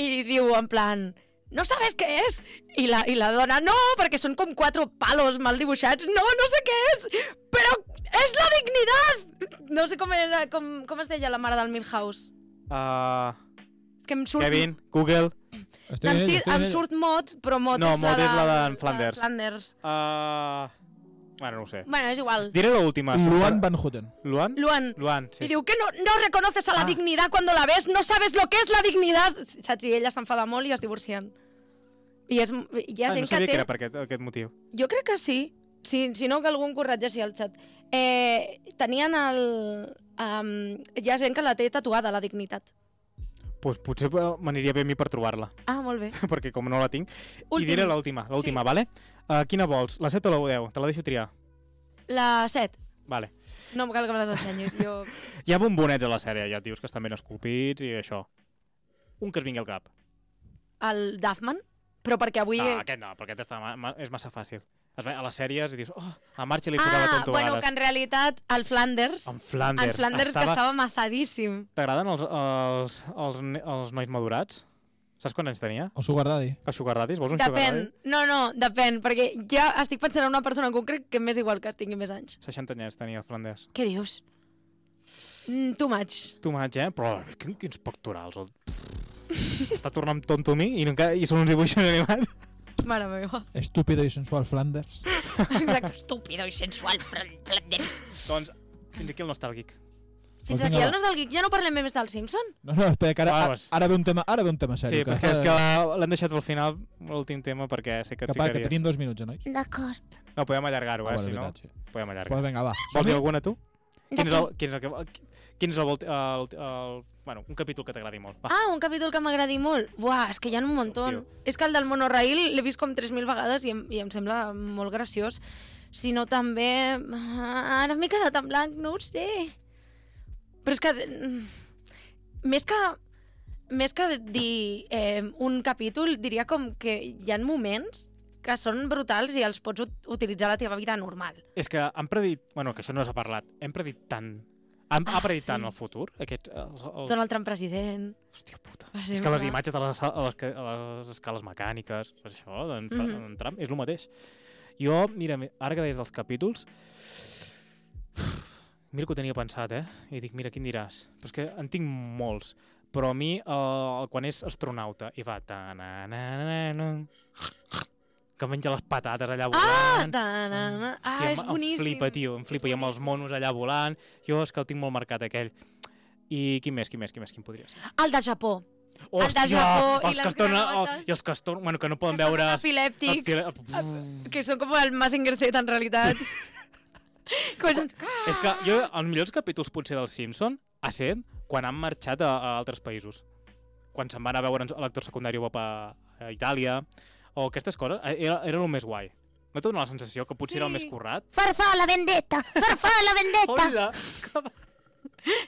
C: i diu en plan... No sabes què és? I la, I la dona, no, perquè són com quatre palos mal dibuixats. No, no sé què és, però és la dignitat! No sé com, era, com, com es deia la mare del Milhouse.
B: Uh,
C: És que em surt...
B: Kevin, Google...
E: Estic
C: Em,
E: en ell,
C: si,
E: estic en
C: em
E: ell.
C: surt Mot, però Mot
B: No,
C: és
B: Mot
C: la
B: és la d'en
C: de
B: Flanders.
C: Flanders.
B: Uh, bueno, no ho sé.
C: Bueno, és igual.
B: Diré l'última.
E: Luan Van Houten.
B: Luan?
C: Luan.
B: Luan,
C: Sí. I
B: sí.
C: diu que no, no reconoces a la
B: Ah.
C: dignitat quan la ves, no sabes lo que és la dignitat. Saps? I ella s'enfada molt i es divorcien. I és, hi ha
B: Ah,
C: gent
B: no sabia
C: que
B: que
C: té...
B: era per aquest, aquest motiu.
C: Jo crec que sí. Si, si no, que algú em corregeixi al xat. Eh, tenien el... Um, hi ha gent que la té tatuada, la dignitat.
B: Pues potser eh, m'aniria bé a mi per trobar-la, *laughs*
C: Ah, molt bé.
B: perquè com no la tinc... I
C: Últim.
B: diré l'última, l'última, vale? Uh, quina vols? La 7 o la 10? Te la deixo triar.
C: La 7.
B: Vale.
C: No em cal que me les ensenyis. Jo...
B: Hi ha bombonets a la sèrie, ja, tios que estan ben esculpits i això. Un que es vingui al cap.
C: El Duffman. Però perquè avui...
B: No, aquest no, perquè aquest està, ma, ma, és massa fàcil. Es ve a les sèries i dius, oh, a marxa li ficava
C: Ah,
B: tonto
C: bueno, que en
B: vegades.
C: realitat el Flanders,
B: En Flanders.
C: en Flanders estava... que estava mazadíssim.
B: T'agraden els, els, els, ne- els nois madurats? Saps quants anys tenia?
E: El Sugar Daddy.
B: Els sugar daddies? Vols un sugar daddy?
C: Depèn, no, no, depèn, perquè ja estic pensant en una persona en concret que m'és igual que es tingui més anys.
B: 60 anys tenia el Flanders.
C: Què dius? Mm, too much.
B: Tu maig, eh? Però quin, quins pectorals. El... Està tornant tonto a mi i, encara, i són uns dibuixos animats.
C: Mare meva.
E: Estúpido i sensual Flanders.
C: Exacte, estúpido i sensual. Fran- Flanders.
B: doncs, fins aquí el nostàlgic.
C: Fins
E: Doncs
C: aquí
E: vinga,
C: el
E: va.
C: nostre geek. Ja no parlem més del Simpson?
E: No, no, espera, que
B: Va,
E: ara, ara,
B: vas.
E: ara ve un tema, ara ve un tema
B: Sí,
E: sèrio.
B: perquè és que l'hem deixat pel final, l'últim tema, perquè sé que et
E: Que, pa, que
B: ficaries.
E: tenim dos minuts, eh, nois?
D: D'acord.
B: No, podem allargar-ho, eh?
E: Ah, bueno,
B: si no,
E: veritat, sí.
B: podem allargar.
E: Pues vinga, va.
B: Vols dir
E: som-hi.
B: alguna, tu? Quin és el, quin és el, que- quin és el, vol- el, el, bueno, un capítol que t'agradi molt. Va.
C: Ah, un capítol que m'agradi molt. Buah, és que hi ha un muntó.
B: tio.
C: És que el del monorail l'he vist com 3.000 vegades i em, i em sembla molt graciós. Si no, també... ah, Ara m'he quedat en blanc, no ho sé. Però és que... mm, Més que... Més que dir eh, un capítol, diria com que hi ha moments que són brutals i els pots ut- utilitzar a la teva vida normal.
B: És que han predit... Bueno, que això no s'ha parlat. Hem predit tant... Han,
C: Ah,
B: ha predit
C: sí.
B: tant el futur? Aquest, els, els...
C: Donald Trump president...
B: Hòstia puta.
C: per
B: És que les
C: exemple.
B: imatges de les, a les, ca- a les escales mecàniques, pues això, d'en mm
C: Mhm.
B: -hmm. Trump, és el mateix. Jo, mira, ara que deies dels capítols, *sighs* mira que ho tenia pensat, eh? I dic, mira, quin diràs? Però és que en tinc molts. Però a mi, eh, quan és astronauta, i va... Ta -na -na -na -na, que menja les patates allà
C: Ah,
B: volant...
C: ta -na -na. ah, és boníssim.
B: Em flipa, tio, em flipa. I amb els monos allà volant. Jo és que el tinc molt marcat, aquell. I qui més, qui més, qui més, quin podria ser?
C: El de Japó. de
B: Hòstia,
C: Japó i
B: els que
C: les
B: es tornen...
C: granotes.
B: oh, I els que es tornen... Bueno, que no poden
C: Que són
B: veure...
C: com epilèptics,
B: epilè-
C: que són com el Mazinger Z, en realitat. *laughs* Com són...
B: És que jo, els millors capítols potser del Simpson ha sent quan han marxat a, a altres països. Quan se'n van a veure l'actor secundari guap a, a Itàlia, o aquestes coses, eh, era, era el més guai. No et dona la sensació que potser era el
C: Sí.
B: més currat? *laughs*
D: Farfalla vendetta, farfalla vendetta.
B: Hola!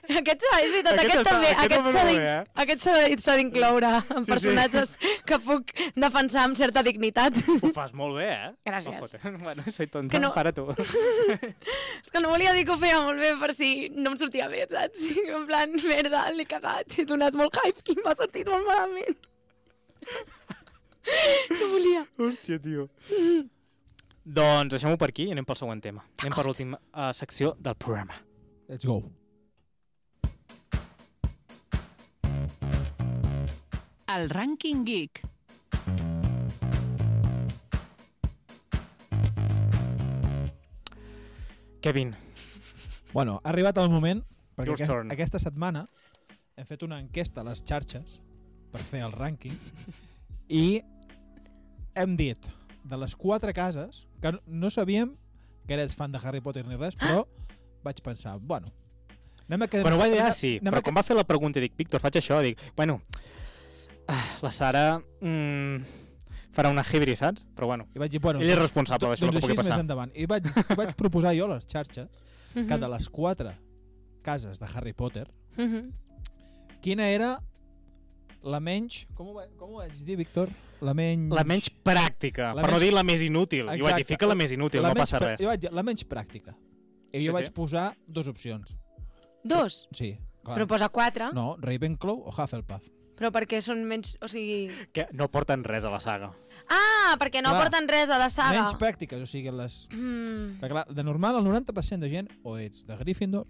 C: Aquest, s'ha- és veritat,
B: Aquest
C: aquest,
B: està-
C: també,
B: aquest
C: aquest
B: no
C: s'ha
B: me'l
C: d'in-
B: veia, eh?
C: aquest s'ha de- s'ha d'incloure en
B: sí.
C: personatges que puc defensar amb certa dignitat.
B: *laughs* Ho fas molt bé, eh?
C: Gràcies.
B: No fotem. *laughs* bueno, soy tonta,
C: Que no-
B: para tu.
C: És que no volia dir que ho feia molt bé per si no em sortia bé, saps? *laughs* En plan, merda, l'he cagat, he donat molt hype i m'ha sortit molt malament. Què volia?
B: Hòstia, tio. doncs deixem-ho per aquí i anem pel següent tema. Anem per l'última uh, secció del programa.
E: Let's go.
A: El rànquing geek.
B: Kevin,
E: Bueno, ha arribat el moment, perquè
B: Your turn.
E: aquest, aquesta setmana hem fet una enquesta a les xarxes per fer el rànquing i hem dit de les quatre cases, que no- no sabíem que eres fan de Harry Potter ni res, però vaig pensar, bueno, anem a quedar...
B: Quan Ah! ho va idear, sí,
E: anem a
B: però quan va fer la pregunta dic, Víctor, faig això, dic, bueno, ah, la Sara mm, farà una hebri, saps? Però bueno,
E: I vaig dir, bueno,
B: ell és responsable
E: doncs,
B: d'això,
E: doncs
B: no
E: així
B: pugui
E: és més
B: passar.
E: endavant. I vaig, vaig proposar jo a les xarxes que
B: Mhm.
E: de les quatre cases de Harry Potter,
C: Mhm.
E: quina era la menys... Com ho, va, com ho vaig dir, Víctor? La menys...
B: La menys pràctica,
E: La
B: per no
E: menys-
B: dir la més inútil. Exacte. Jo vaig dir,
E: Exacte.
B: fica la més inútil,
E: la
B: no
E: menys
B: passa
E: prà-
B: res.
E: Jo vaig dir, la menys pràctica. I
B: Sí,
E: jo
B: sí.
E: vaig posar dues opcions.
C: Dos.
E: Sí, clar.
C: Però posa quatre,
E: No, Ravenclaw o Hufflepuff.
C: però perquè són menys... O sigui...
B: Que no porten res a la saga.
C: Ah, perquè no
E: Clar.
C: porten res de la saga.
E: Menys pràctiques, o sigui, les...
C: Mm.
E: Perquè, clar, de normal, el 90% de gent o ets de Gryffindor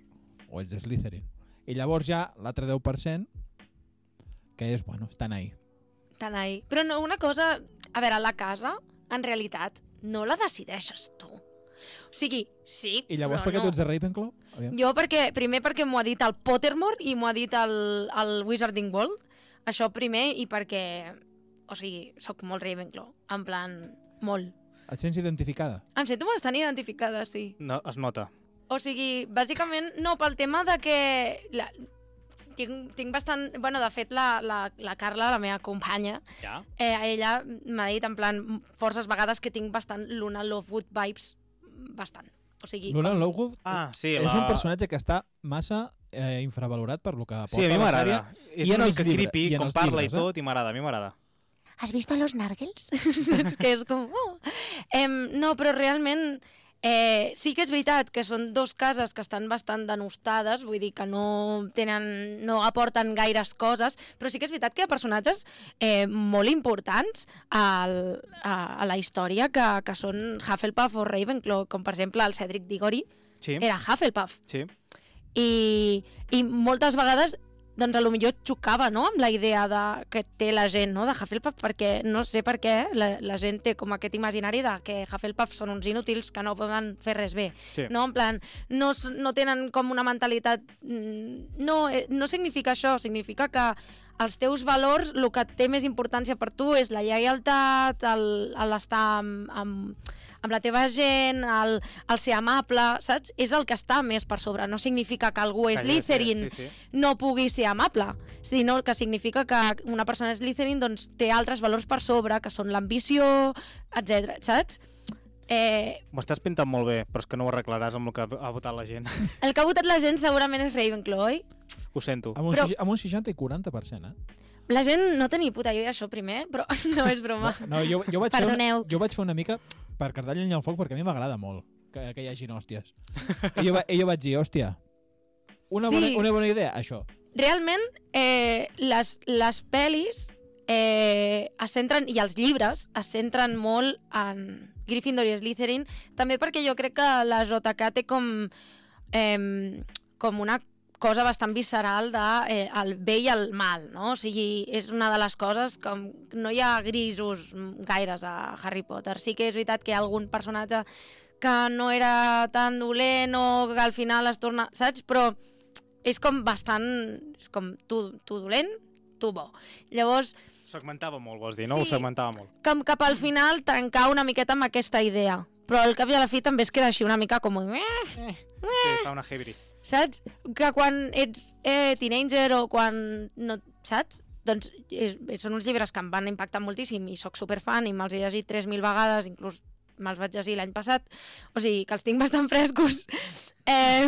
E: o ets de Slytherin. I llavors ja l'altre 10%, que és, bueno, estan ahí.
C: Tan ahí. Però no, una cosa... A veure, la casa, en realitat, no la decideixes tu. O sigui, sí,
E: I llavors,
C: però
E: perquè
C: no.
E: tu ets de Ravenclaw? Aviam.
C: Jo perquè, primer perquè m'ho ha dit el Pottermore i m'ho ha dit el, el Wizarding World. Això primer i perquè... O sigui, sóc molt Ravenclaw. En plan, molt.
E: Et sents identificada?
C: Em sento bastant identificada, sí.
B: No, es nota.
C: O sigui, bàsicament, no, pel tema de que... La... Tinc, tinc bastant... bueno, de fet, la, la, la Carla, la meva companya,
B: Ja?
C: eh, ella m'ha dit, en plan, forces vegades que tinc bastant Luna Lovewood vibes, bastant. O sigui,
E: Luna Lovegood
B: Ah, sí,
E: és
B: la...
E: un personatge que està massa eh, infravalorat per lo que aporta
B: Sí, a mi
E: la
B: m'agrada.
E: sèrie.
B: És
E: i en
B: una
E: els
B: mica
E: llibres-
B: creepy,
E: i en
B: com
E: els
B: parla i
E: llibres, eh?
B: tot, i m'agrada, a mi m'agrada.
D: ¿Has visto a los nargles?
C: saps que *laughs* és com... Oh. Em, no, però realment eh, sí que és veritat que són dos cases que estan bastant denostades, vull dir que no, tenen, no aporten gaires coses, però sí que és veritat que hi ha personatges eh, molt importants al, a, a la història que, que són Hufflepuff o Ravenclaw, com per exemple el Cedric Diggory
B: Sí,
C: era Hufflepuff.
B: sí.
C: I, i moltes vegades doncs a lo millor xocava no? amb la idea de, que té la gent no? de Hufflepuff perquè no sé per què la, la gent té com aquest imaginari de que Hufflepuff són uns inútils que no poden fer res bé
B: sí.
C: no? En plan, no, s- no tenen com una mentalitat... mm, No, eh, no significa això, significa que els teus valors, el que té més importància per tu és la lleialtat, el- el estar amb, amb, amb la teva gent, el, el ser amable, saps? És el que està més per sobre. No significa que algú és
B: Calla, sí,
C: Slytherin,
B: Sí, sí.
C: no pugui ser amable, sinó que significa que una persona Slytherin doncs, té altres valors per sobre, que són l'ambició, etc. saps? Eh,
B: M'ho estàs pintant molt bé, però és que no ho arreglaràs amb el que ha votat la gent. *laughs*
C: el que ha votat la gent segurament és Ravenclaw, oi?
B: Ho sento.
E: Amb un,
C: Però-
E: però... amb un 60 i 40%, eh?
C: La gent no tenia puta idea això primer, però *laughs* no és broma. No.
E: No, jo, jo, vaig fer una,
C: Ah. Perdoneu.
E: jo vaig fer una mica per cardar llenya al foc perquè a mi m'agrada molt que, que hi hagin hòsties. I jo, va- i jo vaig dir, hòstia, una,
C: Sí.
E: bona, una bona idea, això.
C: Realment, eh, les, les pel·lis eh, es centren, i els llibres es centren molt en Gryffindor i Slytherin, també perquè jo crec que la JK té com, eh, com una cosa bastant visceral de eh, el bé i el mal, no? O sigui, és una de les coses que no hi ha grisos mm, gaires a Harry Potter. Sí que és veritat que hi ha algun personatge que no era tan dolent o que al final es torna... Saps? Però és com bastant... És com tu, tu dolent, tu bo. Llavors,
B: Segmentava molt, vols dir, no?
C: Sí.
B: Ho segmentava molt.
C: com cap al final trencar una miqueta amb aquesta idea. Però al cap i a la fi també es queda així una mica com... "Eh,
B: Sí, fa una hebri.
C: Saps? Que quan ets eh, teenager o quan no... Saps? Doncs és, són uns llibres que em van impactar moltíssim i sóc superfan i me'ls he llegit 3.000 vegades, inclús me'ls vaig llegir l'any passat,
B: *laughs*
C: o sigui que els tinc bastant frescos. *laughs* Eh,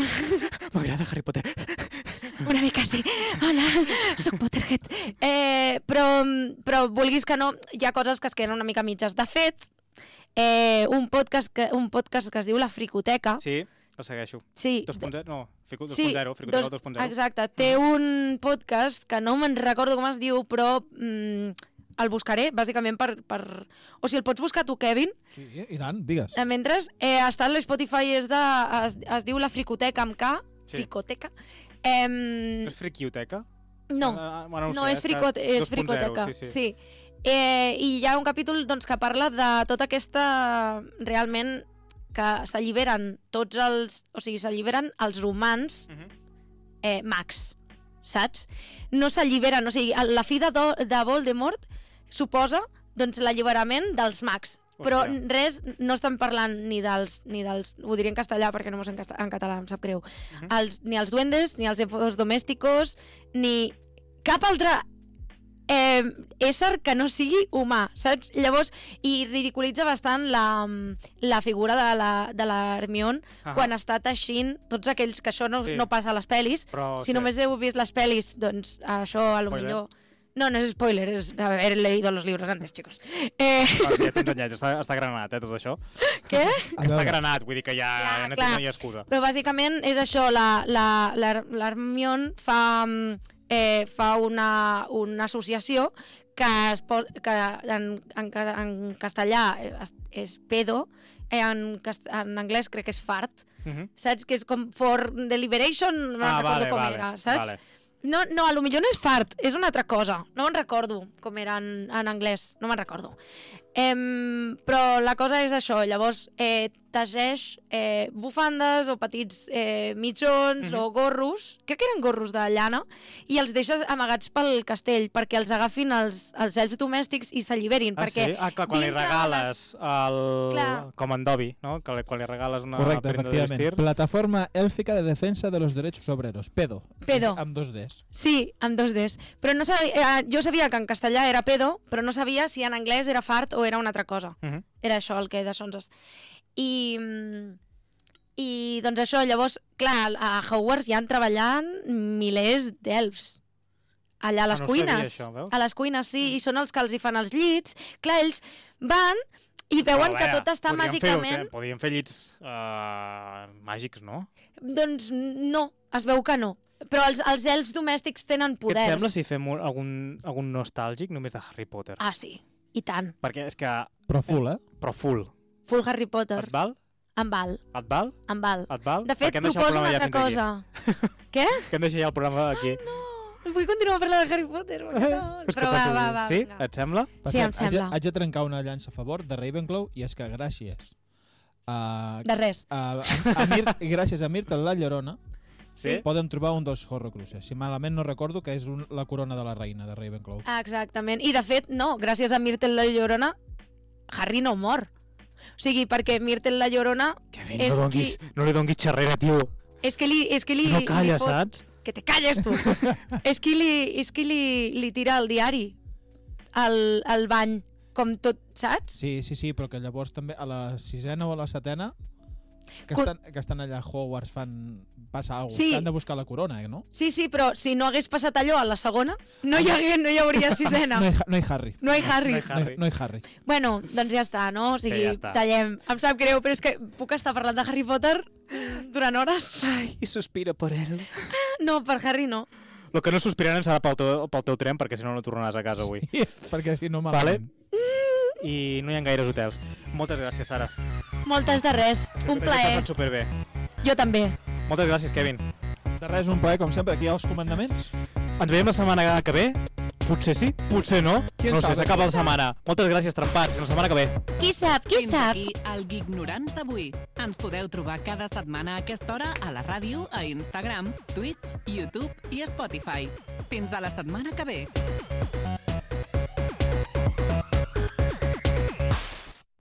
B: M'agrada Harry Potter.
C: *laughs* Una mica sí. Hola, sóc Potterhead. Eh, però, però vulguis que no, hi ha coses que es queden una mica mitges. De fet, eh, un, podcast que, un podcast que es diu La Fricoteca...
B: Sí, el segueixo.
C: Sí,
B: 2.0, no, Frico
C: Sí,
B: 2.0, Frico
C: dos-
B: 2.0.
C: Exacte, té
B: Mm.
C: un podcast que no me'n recordo com es diu, però mm, el buscaré, bàsicament, per, per... O si el pots buscar tu, Kevin,
E: Sí, i tant, digues.
C: Eh, Mentre eh, està a l'Spotify, és de... Es, es diu la Fricoteca amb K.
B: Sí.
C: Fricoteca. Em,
B: És Friquioteca?
C: no,
B: Ah, bueno, ho
C: no,
B: sé,
C: és, fricot,
B: que
C: és
B: 2.0,
C: Fricoteca.
B: Sí, sí.
C: sí. Eh, I hi ha un capítol doncs, que parla de tota aquesta... Realment, que s'alliberen tots els... O sigui, s'alliberen els romans
B: Mhm.
C: eh, Max, saps? No s'alliberen, o sigui, el- la fi de, Do de Voldemort suposa doncs, l'alliberament dels Max. Però
B: Hòstia.
C: res, no estan parlant ni dels, ni dels... Ho diré en castellà perquè no mos en, casta- en català, em sap greu.
B: Mhm.
C: els, ni els duendes, ni els elfos domèsticos, ni cap altre eh, ésser que no sigui humà, saps? Llavors, i ridiculitza bastant la, la figura de la, de la Hermione
B: Ah,
C: quan està teixint tots aquells que això no,
B: Sí.
C: sí. no passa a les pel·lis.
B: Però, Oh,
C: si
B: sí.
C: només heu vist les pel·lis, doncs això a lo
B: Spoiler.
C: millor... No, no és spoiler, és haver leído los libros antes, chicos. Eh,
B: Ah, sí, ja tens enllaç, està, està granat, eh, tot això.
C: què?
E: A
B: Està
E: veure,
B: granat, vull dir que ja
C: Clar,
B: no,
C: clar.
B: tinc, no hi ha excusa.
C: Però bàsicament és això, la- la- la- l'Hermione fa, mm, eh, fa una, una associació que, es po que en, en, ca- en castellà és, és pedo, eh, en, cast en anglès crec que és fart,
B: Uh -huh.
C: saps? Que és com for deliberation, no me'n recordo com era, saps?
B: Ah, Vale. Ah,
C: No, no, a lo millor no és fart, és una altra cosa. No me'n recordo com era en, en anglès, no me'n recordo. Em, però la cosa és això, llavors eh, tageix eh, bufandes o petits eh, mitjons
B: Mhm.
C: o gorros, crec que eren gorros de llana, i els deixes amagats pel castell perquè els agafin els, els elfs domèstics i s'alliberin,
B: Ah,
C: perquè
B: sí? ah, clar, quan li
C: dintre de les-
B: regales el...
C: Clar.
B: com en Dobby, no? Que li- quan li regales una
E: Correcte,
B: prenda de vestir...
E: efectivament. Plataforma élfica de defensa de los derechos obreros. Pedo.
C: Pedo.
E: Amb dos Ds.
C: Sí, amb dos Ds. Però no sabia, eh, jo sabia que en castellà era pedo, però no sabia si en anglès era fart o era una altra cosa.
B: Mhm.
C: Era això el que de Sonses. I, mm, i doncs això, llavors, clar, a Hogwarts hi han treballant milers d'elfs. Allà a les
B: Ah, no ho sabia,
C: cuines.
B: això, veus? Mm.
C: a les cuines, sí, i són els que els hi fan els llits. Clar, ells van i veuen
B: Però,
C: que
B: a veure,
C: tot està
B: podríem
C: màgicament...
B: Fer, podríem fer llits uh, màgics, no?
C: Doncs no, es veu que no. Però els, els elfs domèstics tenen
B: Què
C: poders.
B: et sembla si fem un, algun, algun nostàlgic només de Harry Potter?
C: Ah, sí, i tant.
B: Perquè és que...
E: Però full, eh?
B: Però full.
C: Full Harry Potter.
B: Et val?
C: Em val,
B: Et val?
C: em val.
B: Et val?
C: Doncs- De fet,
B: Perquè hem deixat el
C: proposo
B: programa
C: una
B: ja
C: altra
B: fins aquí.
C: cosa. Què?
B: Que hem deixat ja el programa aquí. Ai,
C: *laughs* Vull continuar parlant de Harry Potter,
B: Eh,
C: perquè no...
B: *laughs*
C: Però va, va, va.
B: Sí?
C: vinga.
B: Et sembla?
E: Per
C: Sí, em
E: cert, haig de-
C: sembla.
E: Haig de trencar una llança a favor de Ravenclaw i és que gràcies eh, a,
C: De res.
E: a, a, Mir *laughs* gràcies a Myrtle la Llorona
B: Sí?
E: poden trobar un dels Horrocruxes. Si malament no recordo que és un, la corona de la reina de Ravenclaw.
C: Ah, Exactament. I de fet, no, gràcies a Myrtle la Llorona, Harry no mor. O sigui, perquè Myrtle la Llorona
B: Kevin,
C: és
B: no, donguis,
C: qui-
B: no li donguis xerrera, tio.
C: és que li... És que li
B: No
C: li
B: calla,
C: fot-
B: saps?
C: Que te
B: *laughs*
C: calles, tu! és que li, és que li, li tira el diari al, al bany, com tot, saps?
E: Sí, sí, sí, però que llavors també a la sisena o a la setena que
C: Cu-
E: estan, que estan allà a Hogwarts fan... passa alguna cosa,
C: Sí.
E: que han de buscar la corona, eh, no?
C: Sí, sí, però si no hagués passat allò a la segona, no
B: Ah.
C: hi, hagués, no hi hauria sisena.
E: No hi, ha- no hi Harry.
C: No hi Harry.
B: No hi
E: No hi,
B: Harry.
E: no hi Harry.
C: Bueno, doncs ja està, no? O sigui,
B: Sí, ja
C: ja
B: està.
C: tallem. Em sap greu, però és que puc estar parlant de Harry Potter durant hores.
B: I sospira per ell.
C: No, per Harry no.
B: El que no sospiraran serà pel teu, pel teu tren, perquè si no, no tornaràs a casa avui.
E: Perquè si no
B: Vale.
E: malament.
B: I no hi ha gaires hotels. Moltes gràcies, Sara.
C: Moltes de res.
B: T'ho
C: Un
B: he
C: plaer.
B: passat superbé.
C: Jo també.
B: Moltes gràcies, Kevin.
E: De res, un plaer, com sempre, aquí als comandaments.
B: Ens veiem la setmana que ve? Potser sí, potser no.
E: Qui en
B: no ho sé,
E: sap,
B: s'acaba la setmana. Moltes gràcies, trempats. Fins la setmana que ve.
D: Qui sap, qui
A: Fins
D: sap?
A: aquí el Gignorants d'avui. Ens podeu trobar cada setmana a aquesta hora a la ràdio, a Instagram, Twitch, YouTube i Spotify. Fins a la setmana que ve.